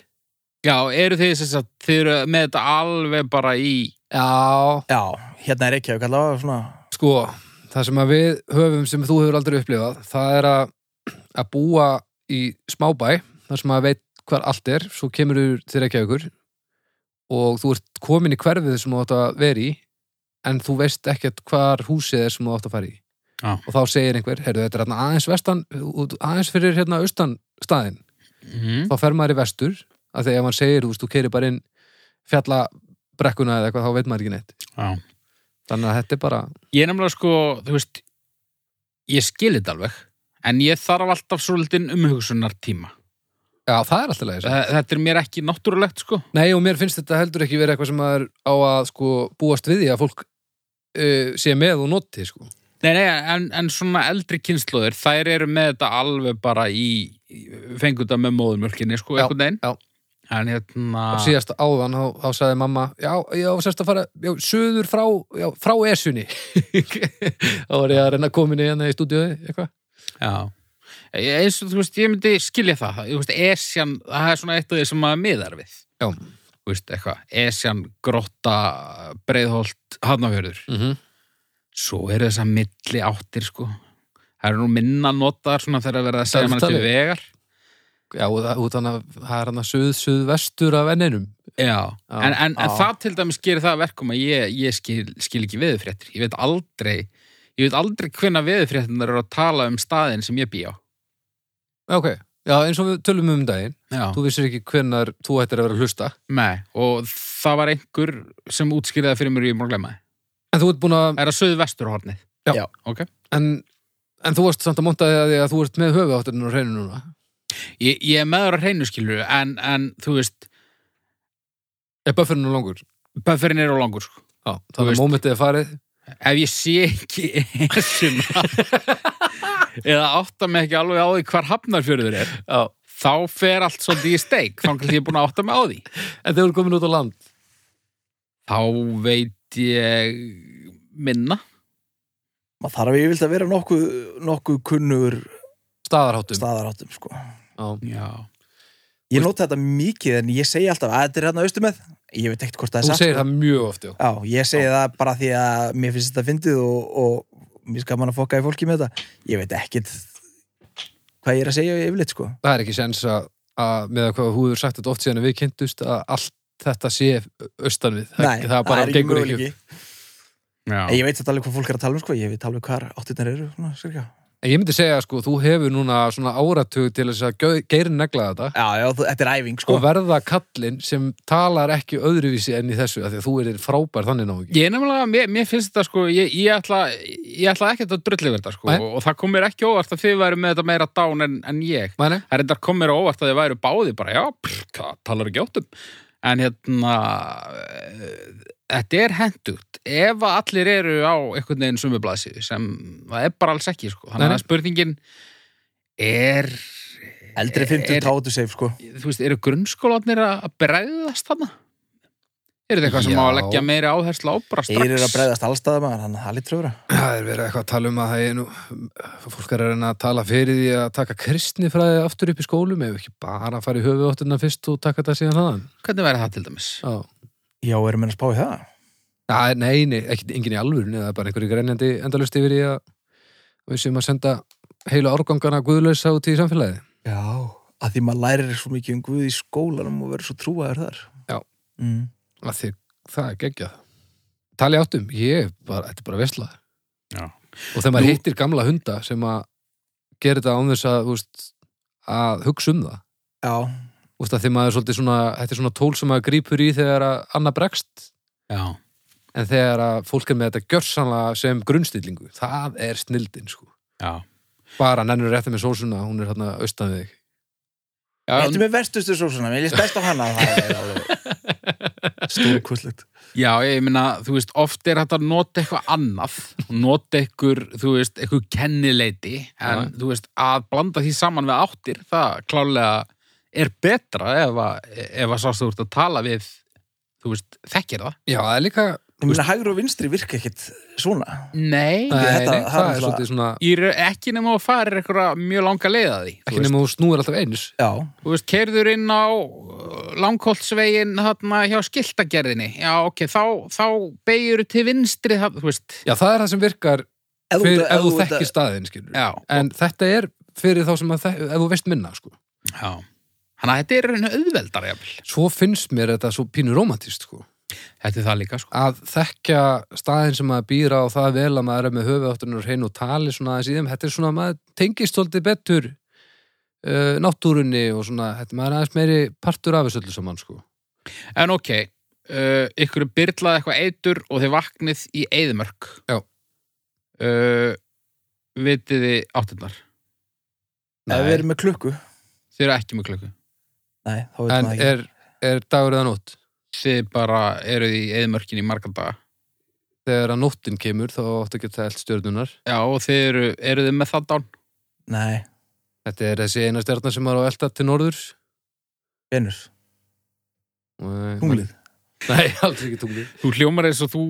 Já, eru þið, sem sagt, þið eru með þetta alveg bara í Já, Já, hérna er ekki að kalla svona sko, það sem að við höfum sem þú hefur aldrei upplifað, það er að, að búa í smábæ, þar sem að veit hvar allt er, svo kemur þú til Reykjavíkur og þú ert komin í hverfið sem þú átt að vera í en þú veist ekkert hvar húsið er sem þú átt að fara í Já. og þá segir einhver, heyrðu, þetta er hérna aðeins vestan út- aðeins fyrir hérna austan staðin mm. þá fer maður í vestur af því að ef maður segir, þú veist, þú keirir bara inn fjalla brekkuna eða eitthvað, þá veit maður ekki neitt Já. þannig að þetta er bara, Ég er nefnilega sko, þú veist, ég skil þetta alveg, en ég þarf alltaf svolítinn umhugsunar tíma. já, það er alltaf leið Þetta er mér ekki náttúrulegt sko. Nei og mér finnst þetta heldur ekki verið eitthvað sem maður á að sko búast við því að fólk uh, sé með og noti sko. Nei, nei, en, en svona eldri kynnslóðir, þær eru með þetta alveg bara í, fengu þetta með móðumjölkinni sko, Já, einhvern veginn. já. En hérna, og síðast áðan þá, þá sagði mamma já, já, sérst að fara já, söður frá, já, frá esunni þá var ég að reyna að koma inn í hérna í stúdíói eitthvað já. Ég- Eins og þú veist, ég myndi skilja það. Þú veist, Esjan, það er svona eitt af því sem maður miðar við. Já. Þú veist, eitthvað, Esjan, Grotta, Breiðholt, Hafnafjörður. mm -hmm. Svo eru þessar milli áttir sko Það eru nú minna notaðar svona þegar að vera að segja Það er mann til talið. vegar Já, og það út hann að það er hann að söð, söðvestur af enninum Já, Já, en, en, en já. það til dæmis gerir það að verkum að ég, ég skil, skil ekki veðurfréttir Ég veit aldrei Ég veit aldrei hvenna veðurfréttinar eru að tala um staðin sem ég bý á Já, ok, já, eins og við tölum um daginn Já, þú vissir ekki hvenar þú ættir að vera að hlusta nei, og það var einhver sem útskýrði það fyrir mér og ég er búin að glemma það en þú ert búin að, Er það söðu vesturhornið? Já. ok en, en þú varst samt að montaði að því að þú ert með höfu áttirinn á hreinu núna Ég, ég er meður að reynu skilur en, en þú veist, er buffurinn langur? bufferinn er á langur sko Já, Þú þannig veist- að mómentið er farið ef ég sé ekki esuna eða átta mig ekki alveg á því hvar hafnarfjörður er Já. þá fer allt svolítið í steik þá kannski ég er búin að átta mig á því En þegar þú komin út á land þá veit ég minna Maður þarf yfirvilt að vera nokkuð, nokkuð kunnugur Staðarháttum staðaráttum sko Já. já, Ég nota þetta mikið en ég segi alltaf að þetta er hérna austum með Ég veit ekkert hvort það Þú er segir sko. það mjög oft já. Já, ég segi það bara því að mér finnst þetta fyndið og, og mér skaman að fokka í fólki með þetta Ég veit ekkert hvað ég er að segja yfirleitt sko Það er ekki sens að, að með að hvað þú hefur sagt þetta oft síðan að við kynntust að allt þetta sé austan við það, Nei, það bara er gengur ekki möguleiki. upp. já. En Ég veit þetta alveg hvað fólk er að tala um sko Ég veit alveg hvað áttirnar eru svona, cirka. En ég myndi segja sko, þú hefur núna svona áratug til þess að geirin negla þetta Já, já, þú- þetta er æfing sko og verða kallinn sem talar ekki öðruvísi enn í þessu af því að þú er frábær þannig náðu ekki ég er nefnilega, mér, mér finnst þetta sko ég, ég, ætla, ég ætla ekkert að drulli verða sko, Nei. og, og það kom mér ekki óvart að þið væri með þetta meira dán en, en ég Mæni? Það er þetta kom mér á óvart að þið væru báði bara, já, pff, það talar ekki áttum. En hérna, eh, þetta er hendugt. Ef að allir eru á einhvern veginn sumublasíu sem það er bara alls ekki, sko. Þannig Nei, nei. að spurningin er Eldri 50 Er- tátu safe, sko. þú veist, eru grunnskólanir að að bregðast þarna? Er þetta eitthvað sem Já. á að leggja meiri áherslu á bara strax? Þeir eru að bregðast allstaðar maður, hann það er litur öfra. Það er verið eitthvað að tala um að það er nú fólk er að reyna að tala fyrir því að taka kristni fræði aftur upp í skólum ef ekki bara að fara í höfuðóttina fyrst og taka þetta síðan hraðan Hvernig væri það til dæmis? Já, Já, erum við að spá í það? Nei, nei, nei ekki, engin í alvörunni það er bara einhverju greinjandi endalust yfir í að við séum að senda heila árgangana guðlausa út í samfélagi Já. Að því maður lærir svo mikið um Guð í skólanum og verður svo trúaður þar. Já. Mm. að því það er geggjað Tali áttum, ég er bara, þetta er bara veslað Já. og þegar maður Nú- hittir gamla hunda sem að gera þetta án þess að, þú veist, að hugsa um það Já. Þú veist að því maður er svolítið svona, þetta er svona tól sem maður grípur í þegar að annað bregst Já. en þegar að fólk er með þetta gjörsanlega sem grunnstillingu, það er snildin sko. Já. Bara nennur rétti með sósuna, hún er hérna austan við þig. Já, Þetta er með verstustu sósuna, mér líst best á hana. Það er alveg stórkustlegt. já, ég meina, þú veist, oft er þetta að nota eitthvað annað, nota eitthvað, þú veist, eitthvað kennileiti, en Já. þú veist, að blanda því saman við áttir, það klálega er betra ef að, ef að sást þú ert að tala við, þú veist, þekkir það. Já, það er líka, Ég meina, hægur og vinstri virka ekkit svona. Nei, nei, þetta- nei, það það er er náttúrulega- svolítið svona, Í ra- ekki nema að fara eitthvað mjög langa leið að því þú ekki veist. nema þú snúir alltaf eins. Já. þú veist, keirður inn á uh, langholtsvegin þarna hjá skiltagerðinni já, ok, þá, þá beigir til vinstri, það, þú veist Já, það er það sem virkar Ef fyrir, ef þú ert að- þekkir staðin, skilur. já, En þetta er fyrir þá sem að, þek- ef þú veist minna, sko. já þannig að þetta er einu auðveldar jafnvel. Svo finnst mér þetta svo pínu romantist, sko. þetta er það líka, sko að þekkja staðin sem maður býr á það vel að maður er með höfuðáttunar hrein og tali svona aðeins í þeim, þetta er svona maður tengist svolítið betur uh, náttúrunni og svona, þetta, maður er aðeins meiri partur af þessu öllu saman sko en ok, uh, ykkur er byrlað eitthvað eitur og þið vaknið í eðmörk Já. uh, vitið þið áttirnar Ef við erum með klukku, þið eru ekki með klöku nei, þá veitum en það ekki. er, er dagur eða nótt þið bara eruð í eðmörkin í marga daga þegar að nóttin kemur þá áttu að geta eld stjörnunar já, og þið eru, eruð þið með það dán Nei, þetta er þessi eina stjörna sem maður á að elda til norður Venus, Og- tunglið. nei, aldrei ekki tunglið Þú hljómar eins og þú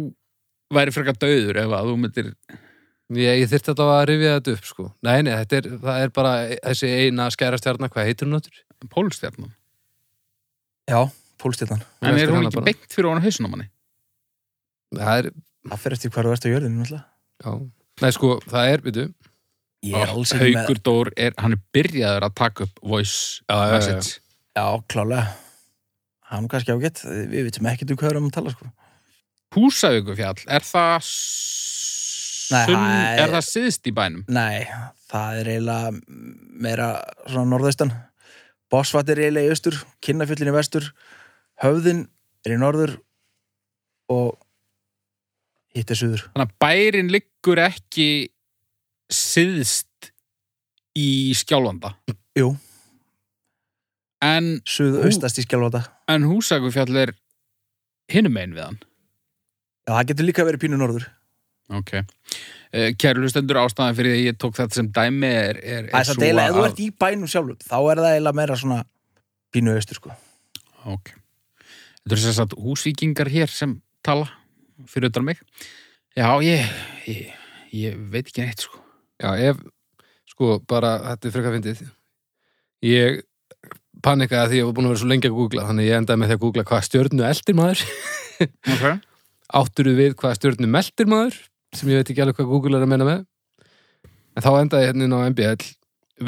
væri frekar döður ef að þú myndir ég, ég þyrfti alltaf að rifja þetta upp sko nei, nei, þetta er, það er bara þessi eina skæra stjörna, hvað heitir hún áttur? pólstjarnan. Já, pólstjarnan. En Eftir er hún hana hérna ekki bara. beint fyrir honum hausnum manni? hérna, það er, Það fer eftir hverju verðstu á jörðinu, náttúrulega. já nei sko, það er, byrju Ég er alls ekki með... Ah, Haukur Dór, er, hann er byrjaður að taka upp voice Já, já, já, message. Já, klálega. Hann er kannski ágætt, við vitum ekkert um hvað við erum að tala, sko. Húsavíkufjall, er það s- Nei, sunn, hæ- er það syðst í bænum? Nei, það er eiginlega meira svona norðaustan. Bosvat er eiginlega í austur, kinnafjöllin í vestur, höfðin er í norður og hitt er suður. Þannig að bærin liggur ekki syðst í skjálfanda. Jú. En, Suðaustast í skjálfata. en húsavíkufjall er hinum einn við hann. Já, það getur líka verið pínu norður. Ok. Eh, Kæru hlustendur ástæðan fyrir því að ég tók þetta sem dæmi er, er, Það er svo deila, ef þú ert í bænum sjálfum, þá er það eiginlega meira svona pínu austur, sko. Ok. Þetta eru sem sagt húsvíkingar hér sem tala fyrir utan mig. Já, ég, ég, ég veit ekki neitt, sko. Já, ef, sko, bara, þetta er frekar fyndið. Ég panikaði því að ég var búin að vera svo lengi að googla, þannig ég endaði með því að googla hvað stjörnu eldir maður, Ok. átturu við hvað stjörnu meldir maður, sem ég veit ekki alveg hvað Google er að menna með. En þá endaði ég hérna inn á MBL,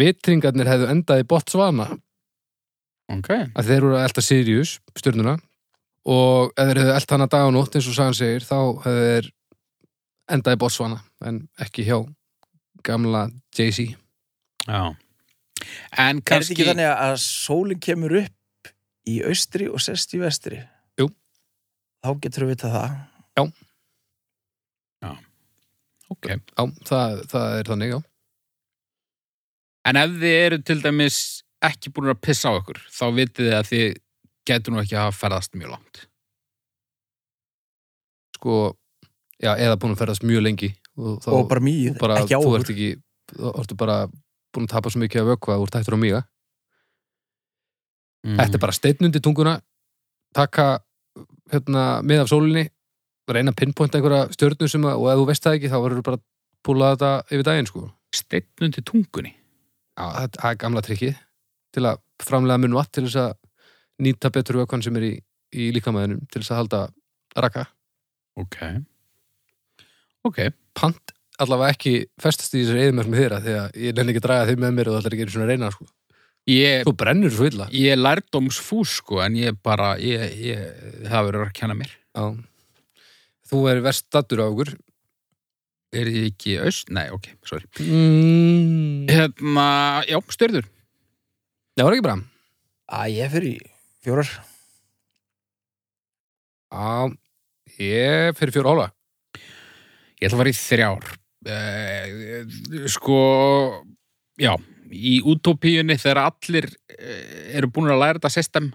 vitringarnir hefðu endaði bótt svana, Ok. að þeir voru að elda Sirius, stjörnuna, og ef þeir hefðu elda hana dag og nótt, eins og sagan segir, þá hefðu þeir endaði bótt svana, en ekki hjá gamla Jay-Z. Já. En Er þetta kannski... ekki þannig að sólinn kemur upp í austri og sest í vestri? Jú. Þá getur við vitað það. Ok. Já, það, það er þannig, já. En ef þið eru til dæmis ekki búin að pissa á ykkur, þá vitið þið að þið getur nú ekki að hafa ferðast mjög langt. Sko, já, eða búin að ferðast mjög lengi og þá og bara mýð, bara, ekki á þú okkur. ert ekki, þá ertu bara búin að tapa svo mikið af vökva úr tættur og mýga Mm. Þetta er bara steinn undir tunguna taka hérna, mið af sólinni reyna að pinpointa einhverja stjörnu sem að, og ef þú veist það ekki þá verður bara að púla þetta yfir daginn sko. steinn undir tungunni. Já, það það er gamla trikkið til að framlega mun vatn til þess að nýta betur vökvann sem er í, í líkamæðinum til þess að halda raka Ok. Ok. pant allavega ekki festast í þessari eðmörg með þeirra því að ég nenni ekki að draga þeim með mér og það ætlar ekki einu sinni að reyna sko. Ég, Þú brennur svo illa ég er lærdómsfús, sko, en ég bara, ég, ég, það verður að kenna mér. Já. Þú er verst stattur á okkur Er ég ekki aust? Nei, ok, sorry. mm. Hérna, já, styrður. Það var ekki bra Æ, ég fyrir í fjórar Já, ég fyrir fjóra ála Ég ætla að fara í þrjár. Eh, sko, já, í útópíunni þegar allir eh, eru búin að læra þetta system,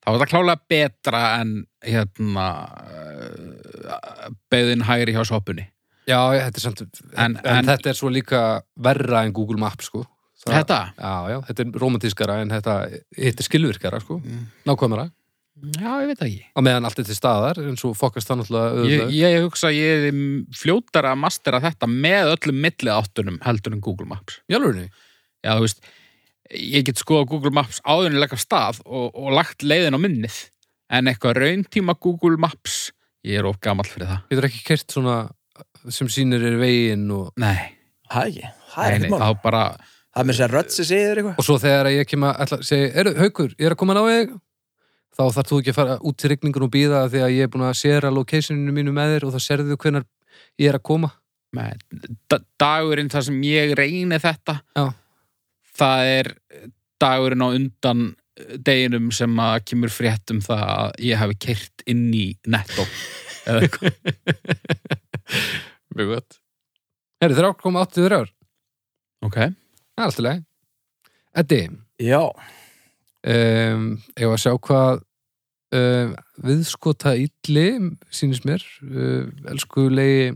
þá er það klálega betra en hérna eh, beðin hægri hjá soppunni. Já, ég- þetta er samt en, En- en- þetta er svo líka verra en Google Maps sko. Það- Þetta? Já, já, þetta er romantískara en þetta hitt er skilvirkara sko, Mm. nákvæmara Já, ég veit það ekki. á meðan allt er til staðar en svo fokast það náttúrulega Ég, auðvitað ég hugsa að ég er fljótara að mastera þetta með öllum milliðáttunum heldur en Google Maps. Jálfurinni? Já, þú veist, ég get skoða Google Maps áður en leggja stað og, og lagt leiðin á minnið. En eitthvað rauntíma Google Maps, ég er of gamall fyrir það. Getur ekki kert svona sem sýnir er veginn og, Nei, Það er ekki, það er nei, ekkert nei mál þá bara, Það er með þess að rödd sem segir þér eitthvað og svo þegar ég kem að ætla, segi, er, haukur, ég er að koma að ná þig þá þarf þú ekki að fara út til rigningun og býða því að ég er búin að sera locationinu mínu með þér og það serðu hvenar ég er að koma nei, da- dagurinn þar sem ég reyni þetta, Já. það er dagurinn á undan eh, deginum sem að kemur frétt um það að ég hafi kert inn í netto eða eitthvað. Mjög gott Herri, 3,83 Ok. Það er alltaf leið Eddi, Já, um, ég var að sjá hvað um, viðskota illi sýnist mér uh, elskulegi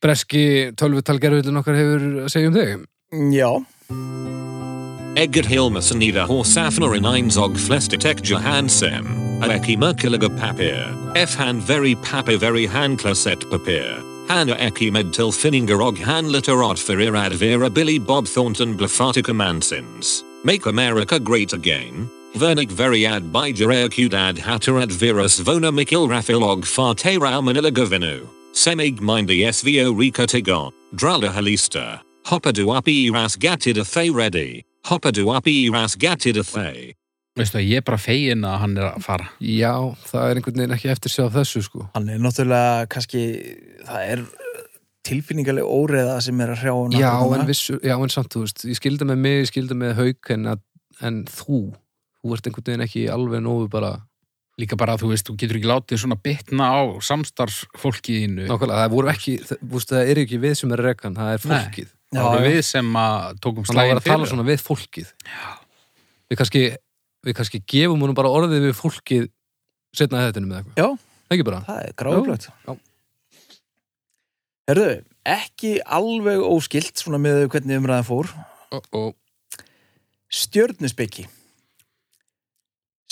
breski tölvutalgerðullin okkar hefur að segja um þig já Edgar Hilmerson Ida Horsafner in Einzog Flestitek Johansem, Aleki Merkulaga Papir, F Han Very Papir Very Han Klaset Papir, Hanna Eki Medtil Finninger Og Han Litterod Ferir Advira Billy Bob Thornton Blafatica Mansins, Make America Great Again, Vernik Veriad by Jerea Kudad Hatterad Virus Vona Mikil Rafilog Farte Manila Govinu, Semig E Mindy SVO Rika Tigon, Drala Halista, Hoppaduapi Ras Gatida Thay Reddy, Hoppaduapi Ras Gatida Thay. Veistu að ég er bara fegin að hann er að fara. Já, það er einhvern veginn ekki eftir sjá þessu sko Hann er náttúrulega kannski Það er tilfinningaleg óreða sem er að hrjá hann Já, en vissu, já, en samt, þú veist ég skildi með mig, ég skildi með hauk en, að, en þú, þú ert einhvern veginn ekki alveg nógu bara Líka bara að þú veist, þú getur ekki látið svona bitna á samstarfsfólkiðinu. Nákvæmlega, það voru ekki, það, vústu, það er ekki við sem er rekan, það er Nei. fólkið Já, Það voru já. við sem að tókum hann á að slægin vera að tala svona við fólkið við kannski, við kannski gefum honum bara orðið við fólkið setna þetta með eitthvað Já. ekki bara Það er gráðuglögt Já. Herðu, ekki alveg óskilt svona með hvernig umræðan fór oh, oh. stjörnusbyggi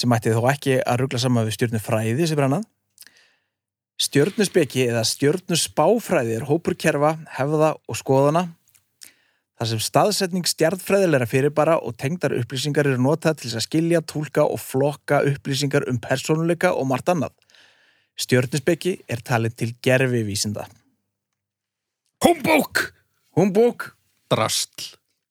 sem ætti þó ekki að ruggla saman við stjörnufræði sem er annað stjörnusbyggi eða stjörnusbáfræði er hópur kerfa, hefða og skoðana þar sem staðsetning stjarnfræðilegra fyrirbara og tengdar upplýsingar eru notað til þess að skilja, túlka og flokka upplýsingar um persónuleika og margt annað stjörnusbyggi er talið til gerfivísinda Humbúk! Humbúk, drastl,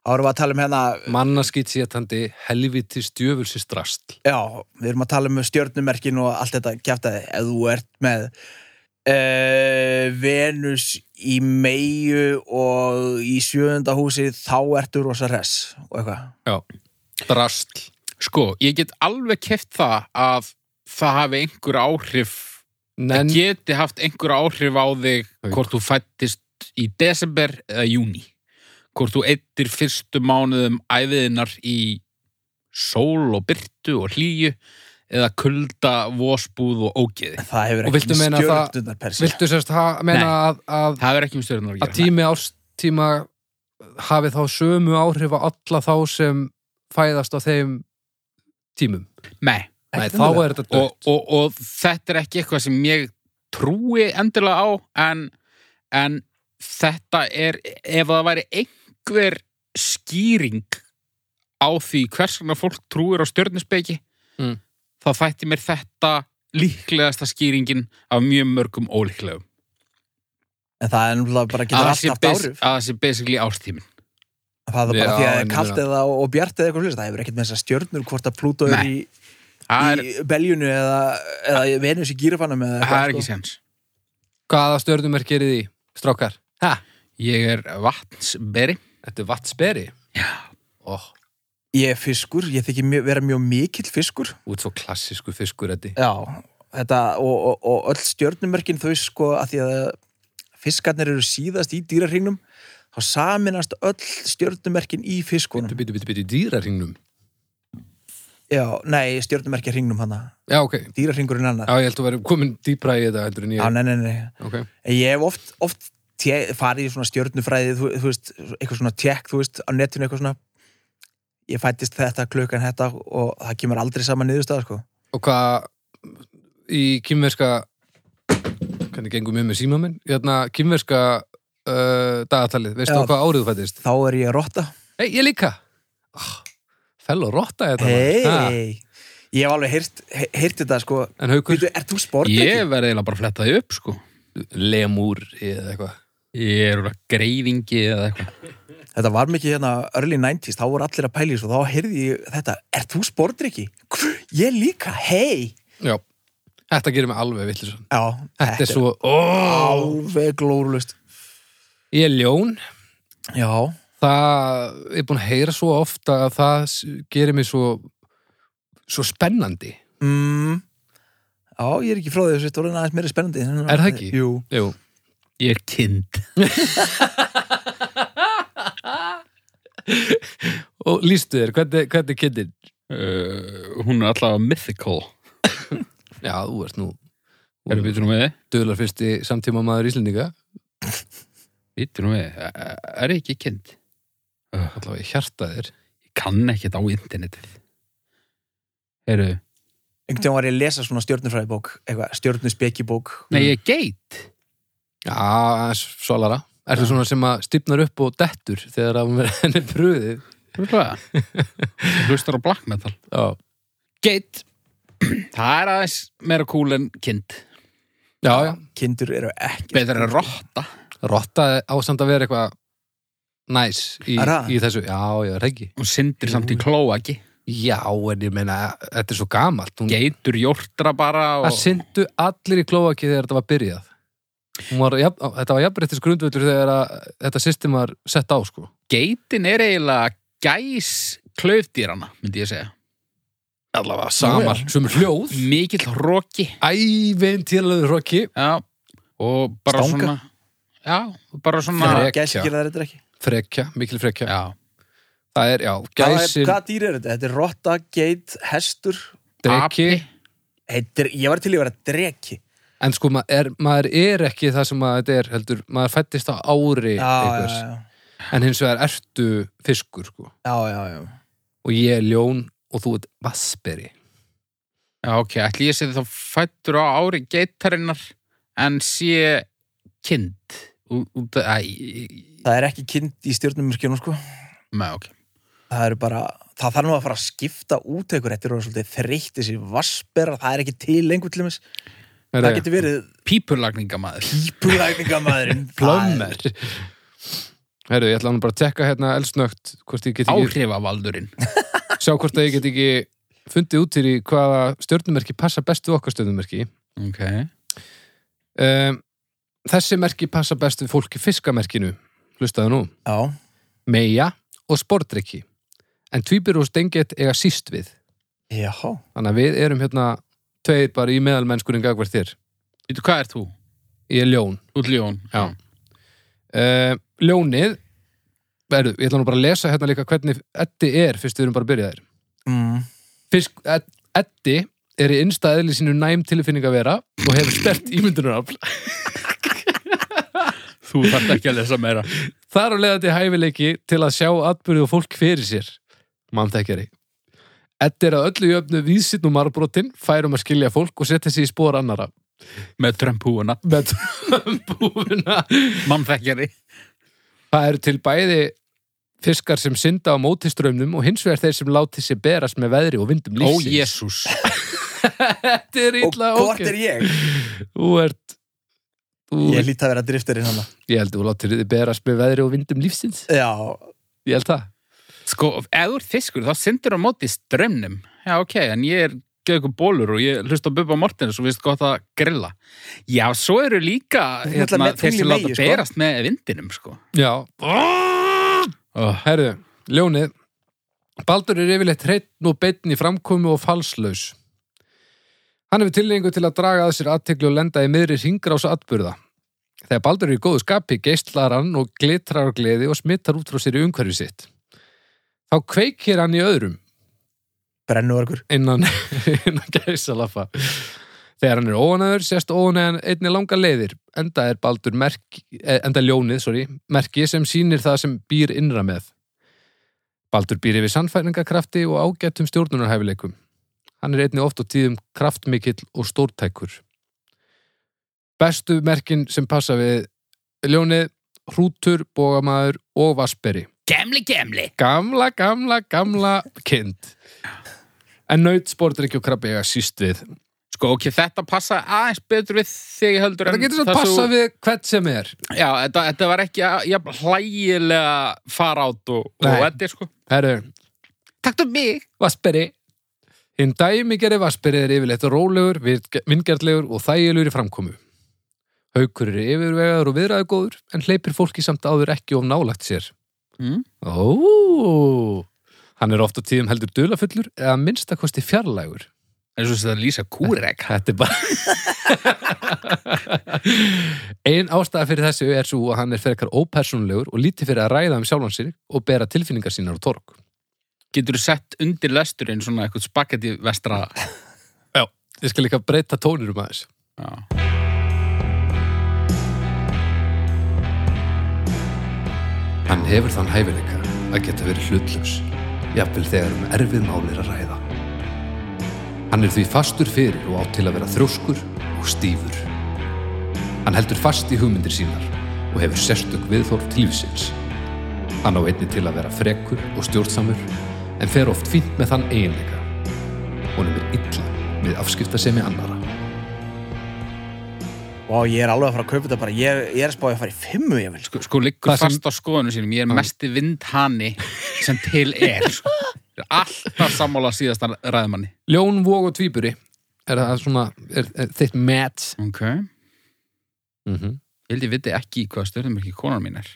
þá erum við að tala um hérna mannaskýt sétandi helviti stjöfulsis drastl Já, við erum að tala um stjörnumerkin og allt þetta kjaftaði ef þú ert með uh, Venus í meiu og í sjöunda húsi þá ertu rosa res og eitthvað drastl, Sko, ég get alveg keft það að það hafi einhver áhrif, nenn það geti haft einhver áhrif á þig Hauk. hvort þú fættist í desember eða júni. Hvort þú eittir fyrstu mánuðum æfiðinar í sól og byrtu og hlýju eða kulda, vosbúð og ógeði. Það hefur Og ekki viltu meina það- stjörnunar persi viltu sérst ha, meina Nei. að, að, Það verður ekki um stjörnur að að gera. tími ástíma hafi þá sömu áhrif á alla þá sem fæðast á þeim tímum. Nei, Nei, Ekkert þá endilega. er þetta og, dött. og, og þetta er ekki eitthvað sem ég trúi endilega á en, en þetta er ef það væri einhver skýring á því hvers vegna fólk trúir á stjörnispeki Mm. þá þætti mér þetta líklegasta skýringin af mjög mörgum ólíklegum En það er náttúrulega bara að getur það allt sé haft bas- árif að það sé basically ástímin Það er bara Já, því að en er kalt meina- eða og bjart eða eitthvað slúst Það hefur ekkert með þessar stjörnur hvort að Plútó er Nei. í, það er, í beljunu eða, eða Venus í gírafanum eða það er sko. ekki sens Hvaða stjörnumerk er því, strákar? Ha, ég er vatnsberi þetta er vatsberi. Já. Ó, Ég er fiskur, ég þykir mjög- vera mjög mikill fiskur út svo klassísku fiskur þetta. Já, þetta og, og, og öll stjörnumörkin þau sko að því að fiskarnir eru síðast í dýrarhingnum þá saminast öll stjörnumörkin í fiskunum Bitu, bitu, bitu, bitu, dýrarhingnum. Já, nei, stjörnumörkin hringnum hana Já, ok. dýrarhringurinn annað Já, ég held að vera komin dýpra í þetta heldur en Já, ég. nei, nei, nei Ok. Ég hef oft, oft te- farið í svona stjörnufræði þú, þú veist, eitthvað svona tjekk, þú veist, á netinu eitthvað svona ég fættist þetta klukkan þetta og það kemur aldrei saman niðurstað sko. Og hvað í kýmverska hvernig gengum við með síma minn? Hérna, kýmverska uh, dagatalið, veistu Já. á hvað árið þú fættist? þá er ég að rotta Hei, ég líka! Oh, fell og rotta þetta. maður. Ha, hei, ég hef alveg heyrt, he- heyrt þetta sko, En haukur, Veitu, er þú sportleiki? ég verði eiginlega bara að fletta því upp sko lemúr eða eitthvað. ég er úrlega greifingi eða eitthvað Þetta var mikið hérna early 90s, þá voru allir að pæli þessu og þá heyrði ég þetta, er þú sportrykki? Ég líka, hei! Já, þetta gerir mig alveg vittlisum. Já, Þetta er svo, ó, alveg glórulust. ég er ljón. Já, Það, ég er búin að heyra svo ofta að það s- gerir mig svo, svo spennandi. mm, já, ég er ekki frá því þessu, þetta voru aðeins meira spennandi. Er það ekki? Jú. Jú. Ég er kind. Og lístu þér, hvernig, hvernig kynnir? Uh, hún er allavega mythical. Já, þú ert nú Erum við tunum við þið? duðlar fyrsti samtíma maður Íslendinga Við tunum við. Eh, Er ég ekki kind? allavega í hjarta þér Ég kann ekkert á internetið. Eru, Einhvern tíðan var ég að lesa svona stjórnufræðibók, eitthvað, stjórnuspekibók. nei ég er geit. Já, aðeins svolara Er það svona sem að stífnar upp og dettur þegar að hún verður henni pröðið Rúklega. Hlustar á black metal. Já, Geit. Það er aðeins meira cool en kind. já, já. Kindur eru ekki. Betur en rotta. Rotta á samt að vera eitthvað næs í, Er það? í þessu Já, já, er það ekki Hún syndir samt í klóa ekki. Já, en ég meina, þetta er svo gamalt hún, Geitur jórtra bara Það og... syndu allir í klóaki þegar þetta var byrjað Hún var, jafn, Þetta var jafnréttis grundvöldur þegar að, þetta system var sett á sko. Geitin er eiginlega gæs klöfdýrana, myndi ég segja. Allavega samar, sem hljóð Mikill hróki. Ævintýralegu hroki Já, og bara Stanga? svona Já, og bara svona Nei. Nei, Frekja. gæsi gera þetta ekki. Frekja, mikil frekja Já, Það er, já, Hvað, gæsir, hvað dýr eru þetta? Þetta er rotta, geit, hestur. dreki api. Heitir, ég var til í að vera dreki. En sko, maður er, maður er ekki það sem maður þetta er heldur Maður fættist á ári Já, já, einhvers já. En hins vegar ertu fiskur, sko Já, já, já. Og ég er ljón og þú ert vassberi Já, ok, ætli ég sé þá fættur á ári geitarinnar en sé kind ú- út að, æ, Það er ekki kind í stjórnumurkjunum sko með ok Það eru bara, það þarf nú að fara að skipta út ykkur Þetta eru orðið svolítið þreytt þessi vassbera Það er ekki til lengur til þess Það getur verið Pípulagningamaður pípulagningamæðurinn plömmer Herru, ég ætla hann bara að tekka hérna elsnögt Hvort ég get ekki, Áhrifavaldurinn sjá hvort að ég get ekki Fundið út til í hvaða stjörnumerki Passa best við okkar stjörnumerki Ok um, Þessi merki passa best við fólk í fiskamerkinu Hlustaðu nú Já, meia og spordrykki en tvíbur og stengið eiga síst við já þannig að við erum hérna tveir bara í meðalmennskurinn gagvart þér Veitu, hvað er þú? ég er ljón Út ljón Já. uh, ljónið verðu, ég ætla nú bara að lesa hérna líka hvernig Eddi er fyrst við erum bara að byrja þér mm. Fisk, Ed, Eddi er í innstæðli sínu næm tilfinning að vera og hefur stert ímyndunarafl Þú Þú þarft ekki að lesa meira. Þar á leiðandi hæfileiki til að sjá atbyrðu og fólk fyrir sér, mannþekkjari. Þetta er að öllu jöfnu vísinn og marbrotin, færum að skilja fólk og setja sig í spór annara. Með trömpúuna. Með búfuna. Mannþekkjari. Það eru til bæði fiskar sem synda á mótiströmmnum og hins vegar þeir sem láti sér berast með veðri og vindum Ó, lífsins. Jésús. Þetta er og illa hvort er ég? Þú ert... Þú, Ég ég, lít að vera drifterinn hann held að þú látir þið berast með veðri og vindum lífsins. Já, Ég held það. Sko, ef þú ert fiskur, þá syndir á móti strömmnum. Já, ok, en ég er göðu bólur og ég hlust á Bubba Mortens og við gott að grilla. Já, svo eru líka Þú ert náttúrulega hérna, með þeir tungl í sem láta megi, sko. berast með vindinum, sko. Já. Ah. Herðu, ljónið. Baldur er yfirleitt hreittn og beinn í framkomi og falslaus. Hann hefur tilhengu til að draga að sér aðtekli og lenda í miðri hringrása atburða. Þegar Baldur er í góðu skapi, geistlar hann og glitrar á gleði og smittar út frá sér í umhverfi sitt. Þá kveikir hann í öðrum brennuvargur innan, innan gæsalappa. Þegar hann er óanæður, sést óanæðan einni langa leiðir, enda er baldur merki, eh, enda ljónið, sorry, merki sem sýnir það sem býr innra með. Baldur býr yfir sannfæringakrafti og ágættum stjórnunarhæfileikum. Hann er einni oft og tíðum kraftmikill og stórtækur. Bestu merkin sem passa við ljónið, hrútur, bógamæður og vasperi Gemli, gemli. gamla, gamla, gamla kind en naut, spordrykki og krabbi eiga síst við Sko, ok, þetta passa aðeins betur við þig heldur þetta getur svo það passa við hvert sem er Já, þetta, þetta var ekki að- jafn hlægilega fara át og, og Nei. þetta er sko herru, Takk um mig vasperi hinn dæmigeri vasperi er yfirleitt rólegur, vingjartlegur og þægilegur í framkomu haukur er yfirvegaður og viðræðugóður en hleypir fólki samt áður ekki of nálagt sér mm? ó hann er oft á tíðum heldur dulafullur eða minnstakosti fjarlægur eins og þess að lýsa kúrek Þetta er bara Ein ástæða fyrir þessu er svo að hann er frekar ópersónulegur og lítið fyrir að ræða um sjálfan sér og bera tilfinningar sínar á torg Getur þú sett undir lesturinn svona eitthvað spagetti vestra Ég skal líka breyta tónirum aðeins Já, Hann hefur þann hæfileika að geta verið hlutlaus jafnvel þegar um erfið málir að ræða Hann er því fastur fyrir og átt til að vera þrjóskur og stífur Hann heldur fast í hugmyndir sínar og hefur sérstök viðþorf til lífsins Hann á einni til að vera frekur og stjórnsamur en fer oft fínt með þann eiginleika Honum er illa við afskiptasemi annara og ég er alveg að fara að kaupa þetta bara ég, ég er að spáði að fara í fimmu ég vil sko. sko, sko liggur Hvað sem- fast á skoðunum sínum Ég er mesti vindhani sem til er sko. Ég er Alltaf sammála síðastan ræðmanni Ljón, vog og tvíburi er það svona, er, er þitt match Ok, mm Mhm. -hmm. ég held ég viti ekki hvað stjórnum ekki konar mín er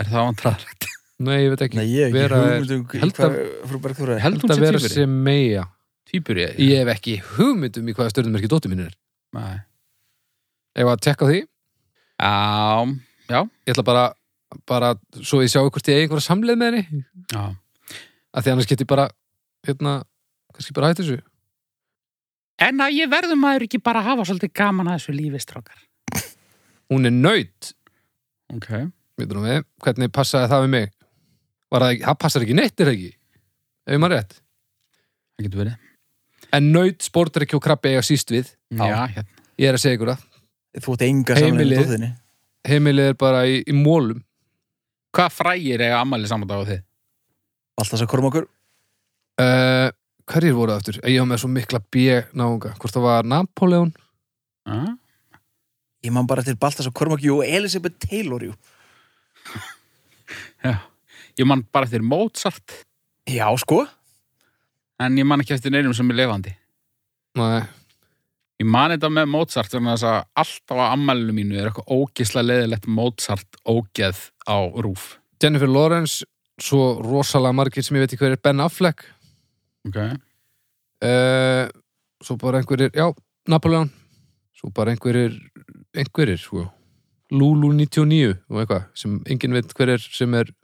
Er það vantraðrætt? Nei, ég veit ekki Nei, ég er Vera ekki er- hugmynd um held hvað að- frú Bergþóra er Held hún Þetta sem vera týpur sem meja Týpur ég? Ég hef ekki hugmynd um í hvaða stjörnumerki dóttir mín er Nei. Ef að tekka á því, Já, ég ætla bara bara svo ég sjá hvort ég eigi einhverja samleið með henni já að því annars get ég bara hérna, kannski bara hætt þessu En að ég verðum maður ekki bara að hafa svolítið gaman að þessu lífi strákar. Hún er nöyt, Ok. veitur hún við hvernig passaði það við mig Var það ekki, það passar ekki neitt er það ekki ef maður rétt Það getur verið. En nöyt, sportrykki og krabbi eiga síst við Já, hérna. Ég er að segja ykkur það þú átt enga samanlega Heimilið. með dóttinni Heimilið er bara í, í mólum Hvað frægir eiga ammæli saman dag á þið? alltaf svo korum okkur uh, Hverjir voru það aftur? Ég á með svo mikla B-náunga Hvort það var Napoleon Ah? ég man bara til Baltas og Kormak jú og Elisabeth Taylor jú Já. Ég man bara eftir Mozart, já sko en ég man ekki eftir neinum sem er levandi. Nei Ég man þetta með Mozart, þannig að alltaf á ammælinu mínu er eitthvað ógislega leðilegt Mozart ógeð á rúf. Jennifer Lawrence svo rosalega margir sem ég veit ekki hver er Ben Affleck Ok. uh, svo bara einhverjir, já, Napoleon svo bara einhverjir einhverjir, sko Lulu 99 og eitthvað sem enginn veit hver er sem er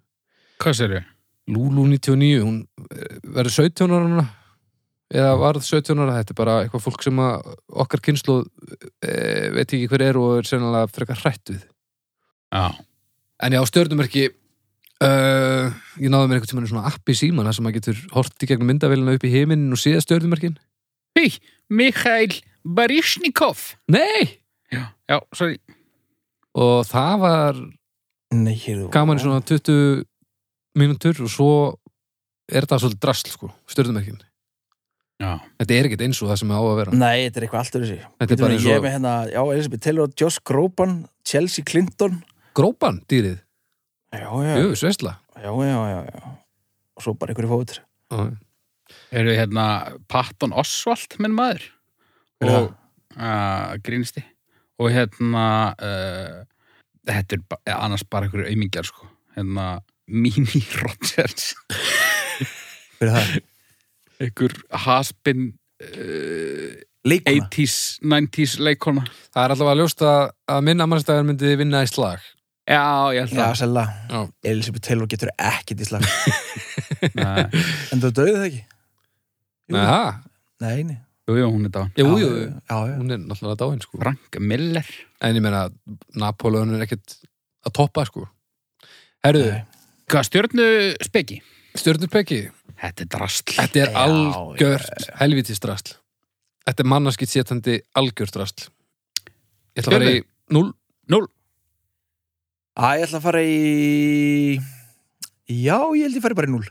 Hvað sér ég? Lulu 99 hún eh, verður 17 ára núna eða varð 17 ára, þetta er bara eh, eitthvað fólk sem að okkar kynslu e, veit ekki hver er og er sennilega frekar hrætt við Já. En já, stjörnumerki uh, Ég náði mér einhvern tímann í svona app í síman þar sem maður getur hort í gegnum myndavélina upp í heiminn og séð stjörnumerkin Hei, Mikhail Baryshnikov. Nei! Já, já, sorry. Og það var Nei, hér gaman í svona 20 mínútur og svo er það svolítið drasl sko, stjörnumerkin Já. Þetta er ekkert eins og það sem það á að vera Nei, þetta er eitthvað allt öðru sig Þetta er bara eins Ég er og með hérna, já, Elisabeth Taylor, Josh Groban Chelsea Clinton grópan dýrið Já, já, Jú, sveisla já, já, já, já. Og svo bara einhverju fóður Eru hérna Patton Oswald, minn maður. Hver er Og uh, grínisti. Og hérna, uh, þetta er ba eh, annars bara einhverju aumingjar, sko. Hérna, Mimi Rogers. Fyrir það Einhver haspin uh, Leikuna 80s, 90s leikona. Það er allavega ljóst að, að minn ammarstæðar myndi vinna í slag Já, ég held Já, það. sella Já. Elisabeth Taylor getur ekkit í slag Nei. En þú döði það ekki? Jú. Nei, það? Nei, nei Jú, jú, hún er dáin. Jú, Já, jú, Já, já hún er náttúrulega dáin sko Frank Miller. En ég meina, Napoleon er ekkert að toppa, sko. Herðu, Nei. Hvað stjörnu speki? stjörnurpeki, Þetta er drastl. þetta er Já, algjört helvitistrasl. Þetta er mannarskitt setandi algjört drasl. Ég ætla að fara í 0. Æ, ég ætla að fara í Já, ég held ég fari bara í 0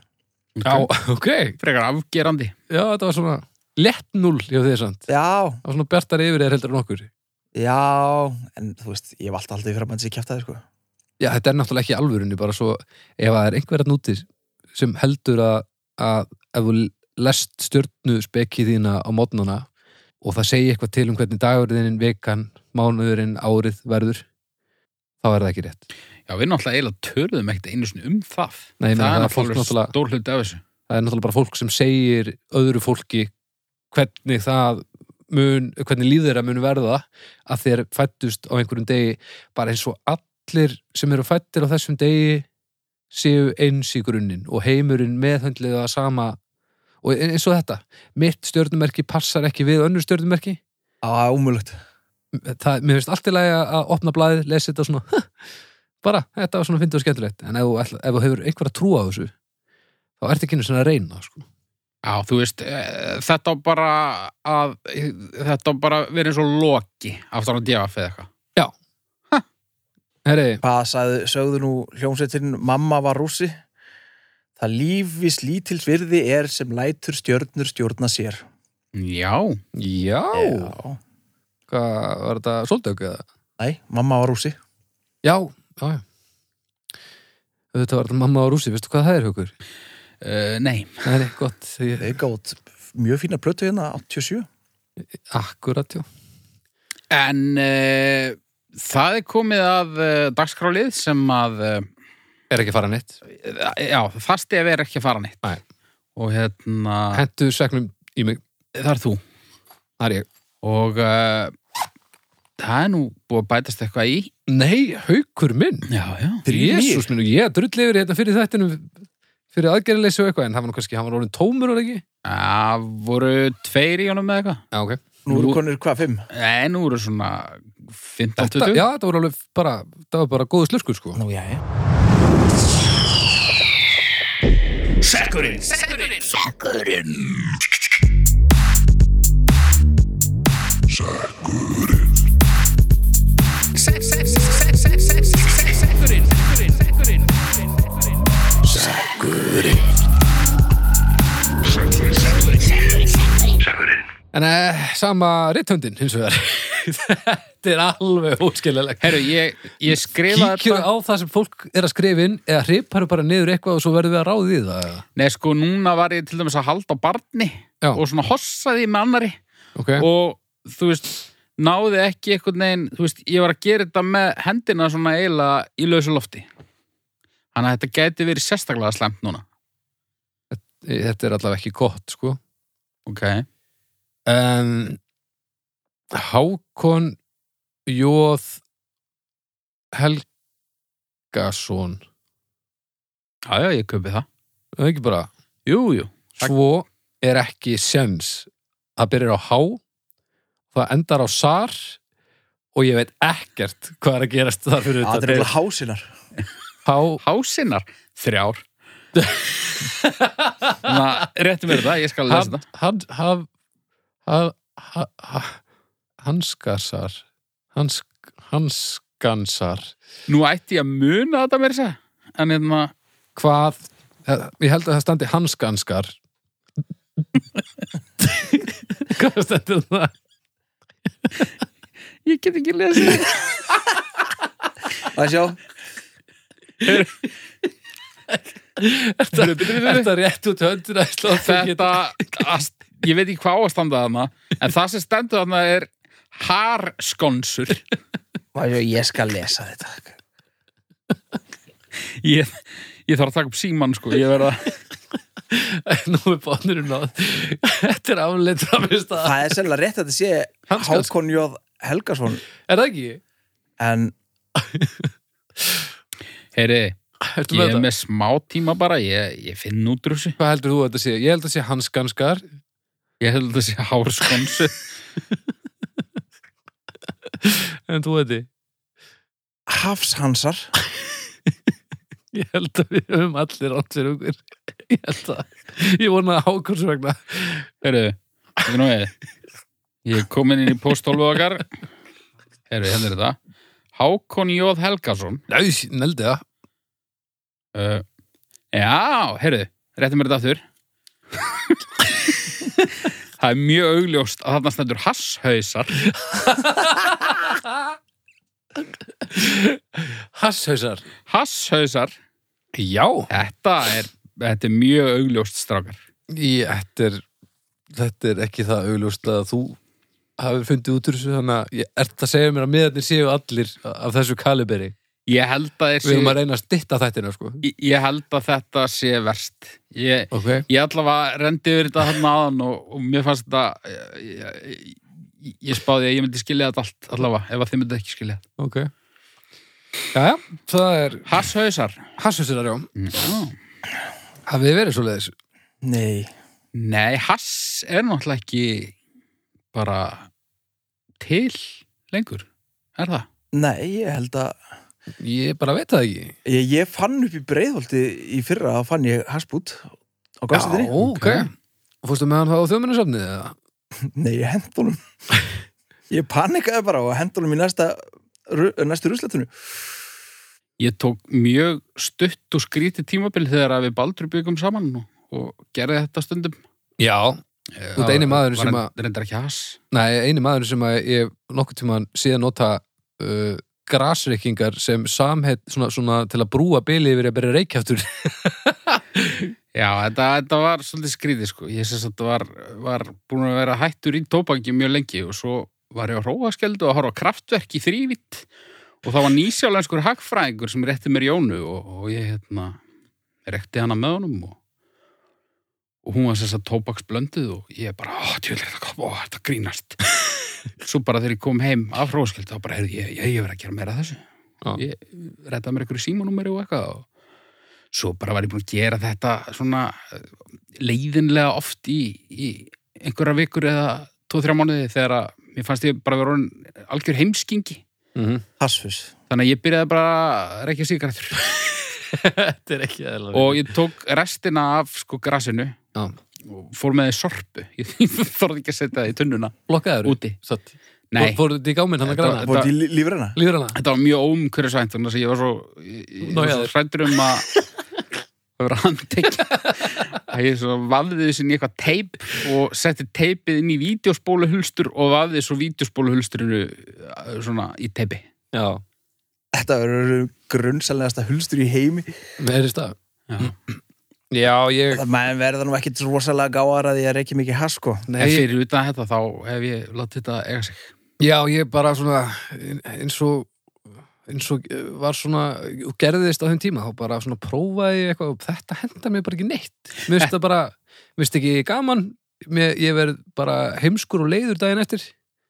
Já, ok. Frekar afgerandi. Já, þetta var svona lett 0 hjá þér samt. Já, Það var svona bjartar yfir eða heldur en okkur. já En þú veist, ég valdi alltaf í fyrir að mann sér kjæftaði sko. Já, þetta er náttúrulega ekki alvörunni, bara svo ef það er einhverjarn úti sem heldur að, að ef þú lest stjörnu spekið þína á mótnana og það segi eitthvað til um hvernig dagurðin, vikan, mánuðurinn, árið verður, þá er það ekki rétt. Já, við náttúrulega eiginlega töluðum ekkert einu sinni um það. Nei, nei, það það er er fólk náttúrulega- náttúrulega stór hluti af þessu. Það er náttúrulega bara fólk sem segir öðru fólki hvernig það mun, hvernig líður að mun verða að þér fættust á einhverjum degi bara eins og allir sem eru fættir á þessum degi séu eins í grunninn og heimurinn meðhöndlið að sama og e, eins og þetta, mitt stjörnumerki passar ekki við önnur stjörnumerki Á, umulugt það, mér finnst allt í lagi að opna blaðið, lesa þetta og svona "Huh, bara, þetta var svona fyndið og skemmtilegt en ef, þú ætla- ef þú hefur einhver að trúa á þessu þá ertu ekki einu sinni að reyna sko. Já, þú veist, e, þetta á bara að, e, þetta á bara að vera eins og loki aftur á djafaf eða eitthvað. Herri, Hvað sagði, sögðu nú hljómsveitin Mamma var rússi Það lífis lítils virði er sem lætur stjörnur stjórna sér Já, Já, Já hvað var þetta sóldögg eða? Nei, mamma var rússi Já, já, já. Þetta var þetta mamma á rúsi, veistu hvað það er hugur? e, nei. Það er gott, ég, Þeir gátt mjög fína plötu hérna 87 akkurat, já. En e, það er komið að e, dagskrálið sem að, eh, Er ekki að fara neitt. e, já, fastið er ekki að fara neitt. Nei. Og hérna, Hentu segnum í mig, það er þú. það er ég. Og uh, það er nú búið að bætast eitthvað í. Nei, haukur minn. Já, já. Jésús minn, og ég drulli yfir hérna fyrir þættinum, fyrir aðgerðleysi og eitthvað, en það var nú kannski, hann var orðin tómur og ekki. Það voru tveir í honum eða eitthvað. Já, ok. Nú Nú- eru konur hvað, fimm? Nei, nú eru svona 15, Þetta, 20. já, þetta var alveg bara, það var bara góðu slurkur, sko. Nú, já, já En eh, sama rithöndin, hins vegar. þetta er alveg óskiljalegt. Herru, ég, ég skrifa Kíkjur á það sem fólk er að skrifa inn eða hriparu bara niður eitthvað og svo verðum við að ráði í það eða? Nei, sko, núna var ég til dæmis að halda á barni Já. og svona hossaði með annari ok, og þú veist, náði ekki einhvern veginn, þú veist, ég var að gera þetta með hendina svona eiginlega í lausu lofti. Þannig að þetta gæti verið sérstaklega slemt núna. þetta er allavega ekki gott sko Ok. um, Hákon Jóð Helgason Já, já, ég kaupi það. það er ekki bara Jú, jú. Takk. svo er ekki sens það byrjar á há það endar á sar og og ég veit ekkert hvað er að gerast þar fyrir Það er þetta eitthvað hásinnar Há- Hásinnar, þrjár Þannig að réttu mér það, ég skal lesa hann- það hann- hann- hann- hann- hann- hanskarsar Hans, hanskansar Nú ætti ég að muna þetta mér sér En hérna, hvað Eh, ég held að það standi hanskansar hvað um stendur það? ég get ekki lesið þetta Það sjá, Bíddu, bíddu, bíddu, bíddu. Þetta rétt út höndina í slóðfingin? Þetta, ast, ég veit ekki hvað á að standa þarna En það sem stendur þarna er Harskonsur það sjá, ég skal lesa þetta ég, ég þarf að taka upp símann sko Ég verða Nú er bónurinn náð um Þetta er afleitt framist að Það er sennilega rétt að þetta sé Hans- Hákon Jóð Helgason Er það ekki? En Heyri, Ertu ég með er þetta? með smá tíma bara Ég, ég finn út úr þessu Hvað heldur þú að þetta sé? Ég held að sé hanskansgar Ég held að sé hárskonsur en þú veit þið Hafshansar Ég held að við höfum allir átt fyrir okkur Ég held að Ég vona að hákurs vegna Heyri, ekki nú ég Ég er komin inn í póstólfu okkar Heyri, hérna er þetta Hákon Jóð Helgason Nei, neldi það uh, Já, heyrðu, rétti mér þetta aftur Það er mjög augljóst að þarna stendur hasshausar Hasshausar Hasshausar, Já þetta er, þetta er mjög augljóst strákar Ég, þetta, er, þetta er ekki það augljóst að þú hafið fundið út úr þessu þannig að ég ert að segja mér að miðarnir séu allir af þessu kaliberi Ég held Við höfum að, að þessi, reyna að stitta þættina sko ég, ég held að þetta sé verst Ég, Ok Ég allavega rendi yfir þetta hann aðan og, og mér fannst þetta ég, ég, ég spáði að ég myndi skilja þetta allt allavega, ef að þið myndi ekki skilja þetta. Ok Jæja, það er Hasshausar Hasshausar, já Já. Hafið þið verið svoleiðis? Nei, Nei, hass er náttúrulega ekki bara til lengur er það? nei, ég held að Ég bara veit það ekki Ég, ég fann upp í breiðholti í fyrra að fann ég hassbút á Já, gastutinni. ok. Fórstu með hann þá á þjóðmennasafnið eða? Nei, ég hendi honum. Ég panikaði bara og hendi honum í næsta, ru- næstu rusletinu. Ég tók mjög stutt og skrítið tímabil þegar að við Baldur byggum saman og, og gerði þetta stundum Já. Þú ert eini maðurinn sem að- að reyndar ekki hass Nei, eini maður sem að ég nokkuð tímann síðan nota uh, grasrykkingar sem samhett svona, svona til að brúa bili yfir að byrja reykjaftur. Já, þetta, þetta var svolítið skrítið sko. Ég sem sagt var, var búin að vera hættur í tóbangi mjög lengi og svo var ég á hróaskjöldu og að horfa á kraftverk í þrývitt og það var nýsjálenskur hagfræðingur sem rétti mér Jónu og, og ég hérna rekti hana með honum og, og hún var sem sagt tóbaksblönduð og ég bara, ó, tjóðlega þetta kom, ó, þetta grínast Svo bara þegar ég kom heim af hróaskjöldu þá bara, heyrðu, ég, ég, ég verið að gera meira af þessu Já. Ég rettaði mér einhverju símanúmeri og eitthvað og svo bara var ég búin að gera þetta svona eh, leiðinlega oft í, í einhverja vikur eða tvo-þrjá mánuði þegar að mér fannst ég bara vera orðin algjör heimskingi Mm Mhm. -hmm. Hassfus. þannig að ég byrjaði bara að reykja sigrættur Þetta er ekki aðeins. og ég tók restina af sko grasinu Já. og fór með því sorpu ég þorði ekki að setja það í tunnuna Lokkaður. úti, Satt. nei, Fóruðu þetta í gáminn hann að Þetta- græna? Búið til lí- lífræna. Lífrana? þetta var mjög óumhverfisvænt þannig að ég var svo, ég- ég var svo Nójaður. hræddur um að að vera handtekið að ég svo vafði þessi inn í eitthvað teip og setti teipið inn í vídeospóluhulstur og vafði svo vídeospóluhulsturinu eh, svona í teipi Já. Þetta eru grunnsalegasta hulstur í heimi. Meðri stað. Já. Já, ég... Það menn verða nú ekkit rosalega gáðar að ég reykja mikið hass, sko. Nei, en fyrir utan þetta þá hef ég látið þetta eiga sig Já, ég bara svona eins og eins og eh, var svona og gerðist á þeim tíma, þá bara svona prófaði ég eitthvað og þetta henda mér bara ekki neitt mér finnst það bara, mér finnst ekki gaman mér, ég verð bara heimskur og leiður daginn eftir,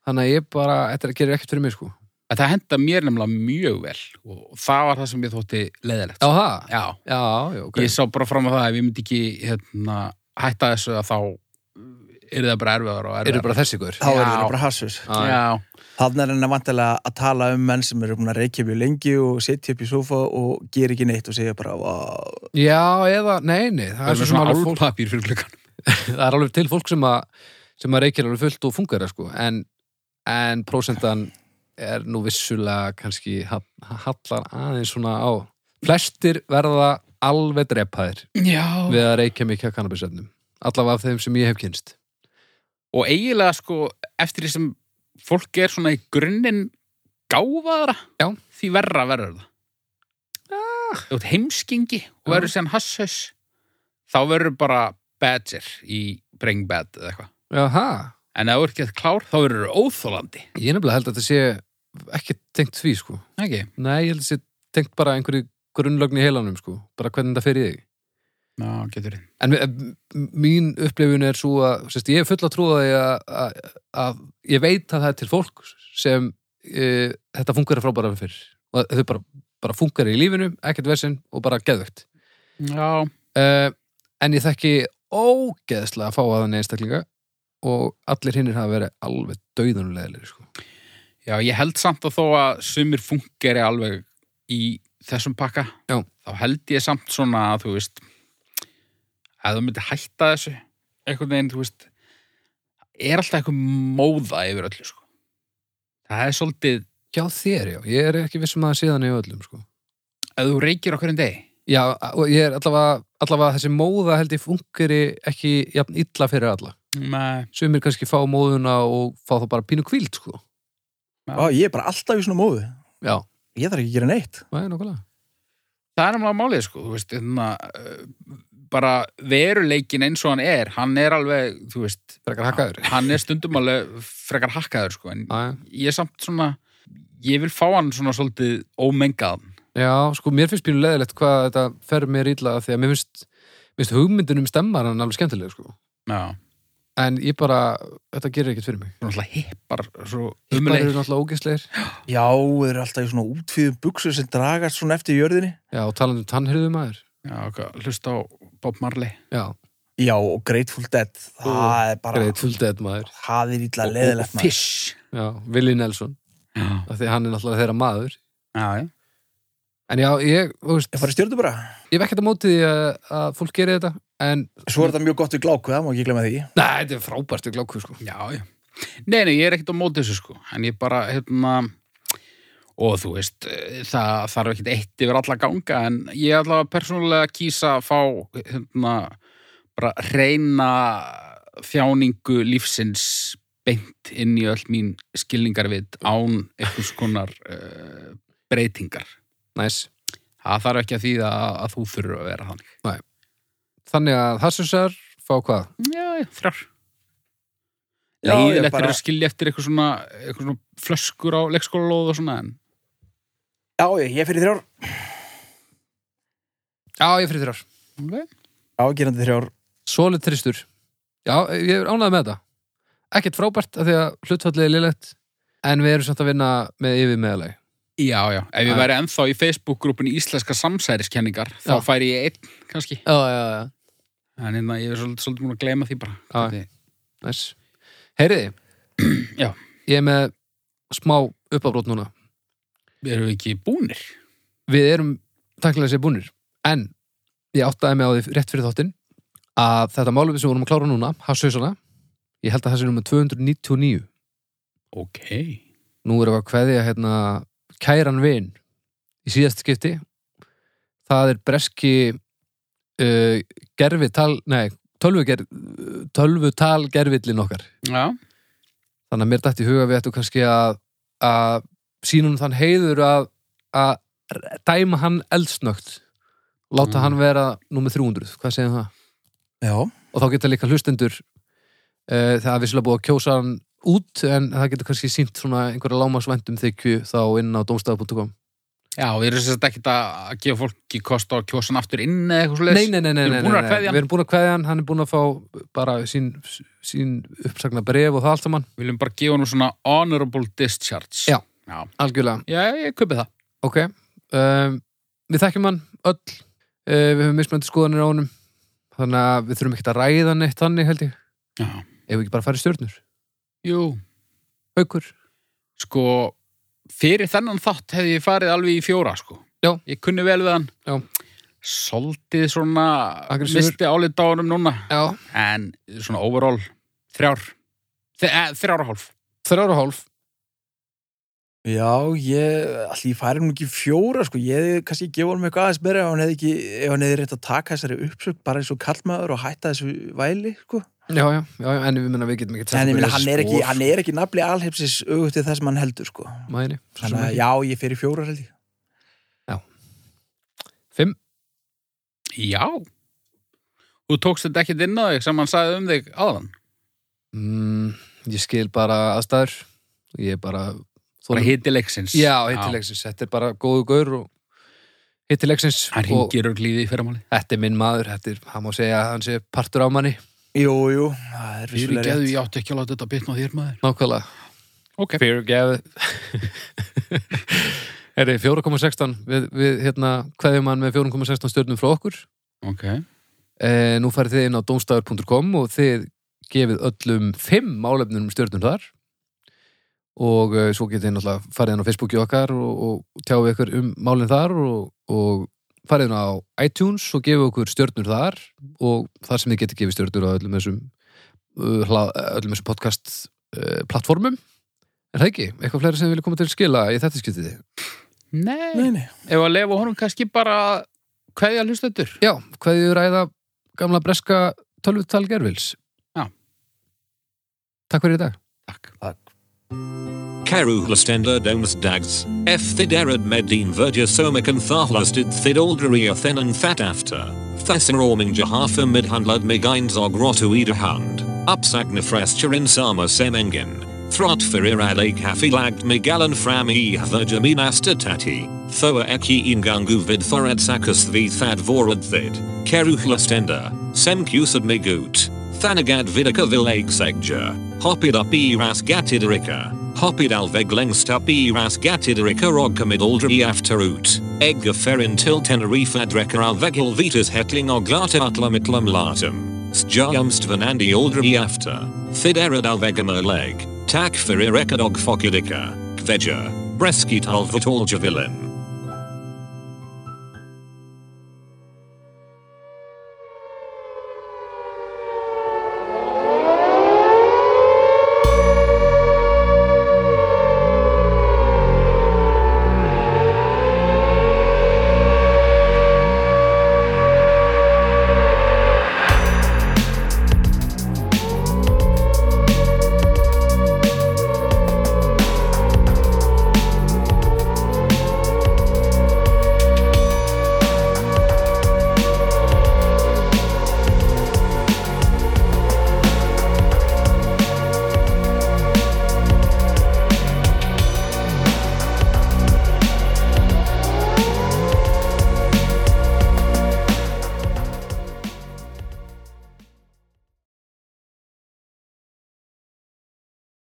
þannig að ég bara þetta gerir ekkert fyrir mig sko Já, að það henda mér nefnilega mjög vel og það var það sem ég þótti leiðilegt sko. það? já, Já, já, ok ég sá bara fram að það ef ég myndi ekki hérna, hætta þessu að þá er það bara erfiðar og eru erfiðar bara þessi ykkur þá er það Já. bara hassus Já, Já, þannig er hann vantilega að tala um menn sem eru búin að reykja mjög lengi og setja upp í sofa og gera ekki neitt og segja bara "Vá, já eða, nei, nei það það er, er svo sem svona alveg fólk, álpapír fyrir klukkan það er alveg til fólk sem að sem að reykir alveg fullt og fungar sko. en, en prósentan er nú vissulega kannski ha- hallar aðeins svona á flestir verða alveg drepaðir Já við að reykja mikið að kannabisefnum allavega af þeim sem ég hef kynst Og eiginlega sko, eftir því sem fólk er svona í grunninn gáfaðara Já. Því verra verður það ah. Þú ert heimskingi og Já. verður sem hasshaus Þá verður bara badger í bring bad eða eitthvað Jaha, En ef þú ert ekki að klár, þá verður þú óþólandi ég nefnilega held að þetta sé ekki tengt því sko Ekki? Nei, ég held að þetta sé tengt bara einhverju grunnlögn í heilanum sko, bara hvernig þetta fer í þig Já, getur þið En m- m- mín upplifun er svo að sérst, ég er full að trúa því að, að, að ég veit að það er til fólk sem e, þetta fungerir frábæra fyrir og þau bara, bara fungerir í lífinu, ekkert vesinn og bara geðvögt Já, uh, en ég þekki ógeðslega að fá að einstaklinga og allir hinnir hafa verið alveg dauðanulegilegir sko. Já, ég held samt að þó að sumir fungeri alveg í þessum pakka Já. þá held ég samt svona að þú veist að þú myndir hætta þessu einhvern veginn, þú veist er alltaf eitthvað móða yfir öllu sko. það er svolítið Já þér, já, ég er ekki vissum að það síðan í öllum sko. að þú reykir okkur en degi Já, og ég er allavega, allavega þessi móða held ég fungeri ekki jafn illa fyrir alla Nei, sumir kannski fá móðuna og fá það bara pínu kvíld sko. Vá, ég er bara alltaf í svona móðu Já, ég þarf ekki að gera neitt það er nokkulega það er náttúrulega málið sko, þú veist, hérna, eh, bara veruleikin eins og hann er hann er alveg, þú veist Frekar hakaður hann er stundum alveg frekar hakkaður sko, en Æ, ég er samt svona ég vil fá hann svona svolítið ómengaðan Já, sko, mér finnst pínu leðilegt hvað þetta fer mér illa því að mér finnst, mér finnst hugmyndunum stemmar hann alveg skemmtileg sko. já, en ég bara, þetta gerir ekkert fyrir mig svona alltaf hippar svo Hippar eru umleik náttúrulega ógeðslegir já, þeir eru alltaf í svona útfýðum buksu sem dragast svona eftir jörðinni Já, og talandi um tannhyrðu maður já, hvað, hlusta á Bob Marley Já, já, og Grateful Dead það er bara, greið tuldið maður það er illa og, leðilegt og maður Fish Já, Willi Nelson, já, af því að hann er náttúrulega þeirra maður já, já. En já, ég, þú veist, ég farið stjórnum bara ég hef ekkert á móti því að, að fólk gerir þetta en, svo er þetta mjög gott við gláku, það má ekki glemma því nei, þetta er frábært í gláku, sko já, já. Nei, nei, ég er ekkert á móti þessu sko en ég bara, hérna og þú veist, eh, það þarf ekkert eitt yfir alla ganga en ég ætla að persónulega kýsa að fá hérna, bara reyna þjáningu lífsins beint inn í öll mín skilningarvit án einhvers konar uh, breytingar Næs, það þarf ekki að þýða að, að þú þurfur að vera þannig þannig að Hassusar fá hvað? já, já, þrjár Já, ég leiðilegt bara- er að skilja eftir eitthvað svona, eitthvað svona flöskur á leikskólalóð og svona en já, ég, ég fyrir þrjár, Já, ég fyrir þrjár, okay. ágerandi þrjár solid þristur Já, ég er ánægð með þetta Ekkert frábært af því að hlutfallið er lilegt en við erum samt að vinna með yfir meðalagi Já, já, ef ég Já. væri ennþá í Facebook-grúpin Íslenska samsæriskenningar þá Já. færi ég einn, kannski Já, já, já, en hérna, ég er svolítið, svolítið múin að gleyma því bara Já. Hvernig- næs Heyriði, Já. ég er með smá uppafrót núna Erum við ekki búnir? við erum takklega sér búnir en ég áttaði mig á því rétt fyrir þáttinn að þetta málefni sem við vorum að klára núna hafsausana, ég held að það sé nummer 299 Ok nú erum við að kveðja hérna kæran vin í síðast skipti það er breski uh, gerfi tal nei, tölvu, ger, tölvu tal gerfillin okkar Já, þannig að mér dætti í huga við ættum kannski að, að sínum þann heiður að, að dæma hann eldsnögt láta Mm. hann vera númer 300, hvað segir það? já, og þá geta líka hlustendur uh, það er visslega búið að kjósa hann út en það getur kannski sínt svona einhverja lámasvendum þykju þá inn á domstaf.com já við erum sérst ekkert að að gefa fólki kost á að kjósa hann aftur inn eða eitthvað svo Nei, nei, nei, nei, Við nei, nei, erum búin að nei. kveðja hann. við erum búin að kveðja hann hann er búin að fá bara sín, sín uppsagna bref og það allt saman Við viljum bara gefa hann svona honorable discharge Já. Já, algjörlega, já ég kaupi það ok um, við þekkjum hann öll uh, við höfum mismöndi skoðanir á honum þannig að við þurfum ekkert að ræða neitt þannig held ég Já, ef við ekki bara farið stjörnur Jú, haukur, sko fyrir þennan þátt hefði ég farið alveg í fjóra sko. Já. Ég kunni vel við hann. Já. Soldið svona Aggressífur. misti álið á honum núna já, en svona overall þrjár Þe, e, þrjár og hálf. þrjára og hálf Já, ég, allir ég færi nú ekki í fjóra, sko, ég hefði kannski gefa honum eitthvað aðeins meira ef hann hefði ekki, ef hann hefði rétt að taka þessari uppsögn bara eins og kallmaður og hætta þessu væli, sko. já, já, já, já, en við minna við getum ekki En ég minna, hann er ekki, hann er ekki nafli alheimsins auðvitað það sem hann heldur, sko. mæni, Þannig að, já, ég fer í fjóra held ég. fimm, Já. Þú tókst þetta ekkert inn á þig sem hann sagði um þig áðan. mm, ég skil bara aðstæður ég er bara Bara þolir- hittilegsins. já, hittilegsins, þetta er bara góðu gaur og hittilegsins Hann og ringir og glýði í fyrramáli. þetta er minn maður, þetta er, hann má segja að hann sé partur á manni, Jú, jú, það er Fyrir vissulega geðu, rétt. ég átti ekki að láta þetta bitna á þér maður. nákvæmlega Ok. fyrirgeðu er þið 4,16 við, við hérna kveðjum hann með 4,16 stjörnum frá okkur Ok. e, nú farið þið inn á domstafur.com og þið gefið öllum 5 málefnum stjörnum þar og e, svo getið þið náttúrulega farið inn á Facebooki okkar og, og tjáið ykkur um málinn þar og, og farið inn á iTunes og gefið okkur stjörnur þar og þar sem þið getið gefið stjörnur á öllum þessum uh, hlað- öllum þessum podcast uh, plattformum er það ekki? Eitthvað fleira sem þið vilja koma til skila í þetta skiptiði? Nei. Nei, nei. Ef að lefa honum kannski bara að kveðja hlustendur. Já, hvað þið ræða gamla breska tölvutal gerfils Já. Takk fyrir í dag Takk. Karu Lastender Domes Dags, F Thiderad Medin Verja Somakan Thahlustid Thid Alderia Thenan Fat After, Thasarorming Jahafa Midhundlad Migines Ogrotu Edahund, Upsagnafrasturin Sama Semengen, Throt Ferirad Akafilagd Migalan Frami Verjamin Astatati, Thoa Eki Ingangu Vid Thorad Sakas the Thad Vorad Thid, Karu Lastender, Semkusad Migut. Thanagad vidika vilag segja. Hoppid up i ras gatidrika. Hoppid alveg lengst up i ras gatidrika ogkamid aldri afterut. Egga ferin til tenerife adreka alvegil vitas hetling oglata utlam itlam latum. Sjumstvanandi aldri after. Fiderad alvegam leg. Tak ferireka dog fokidika. Kveja. Breskit alvatolja villain.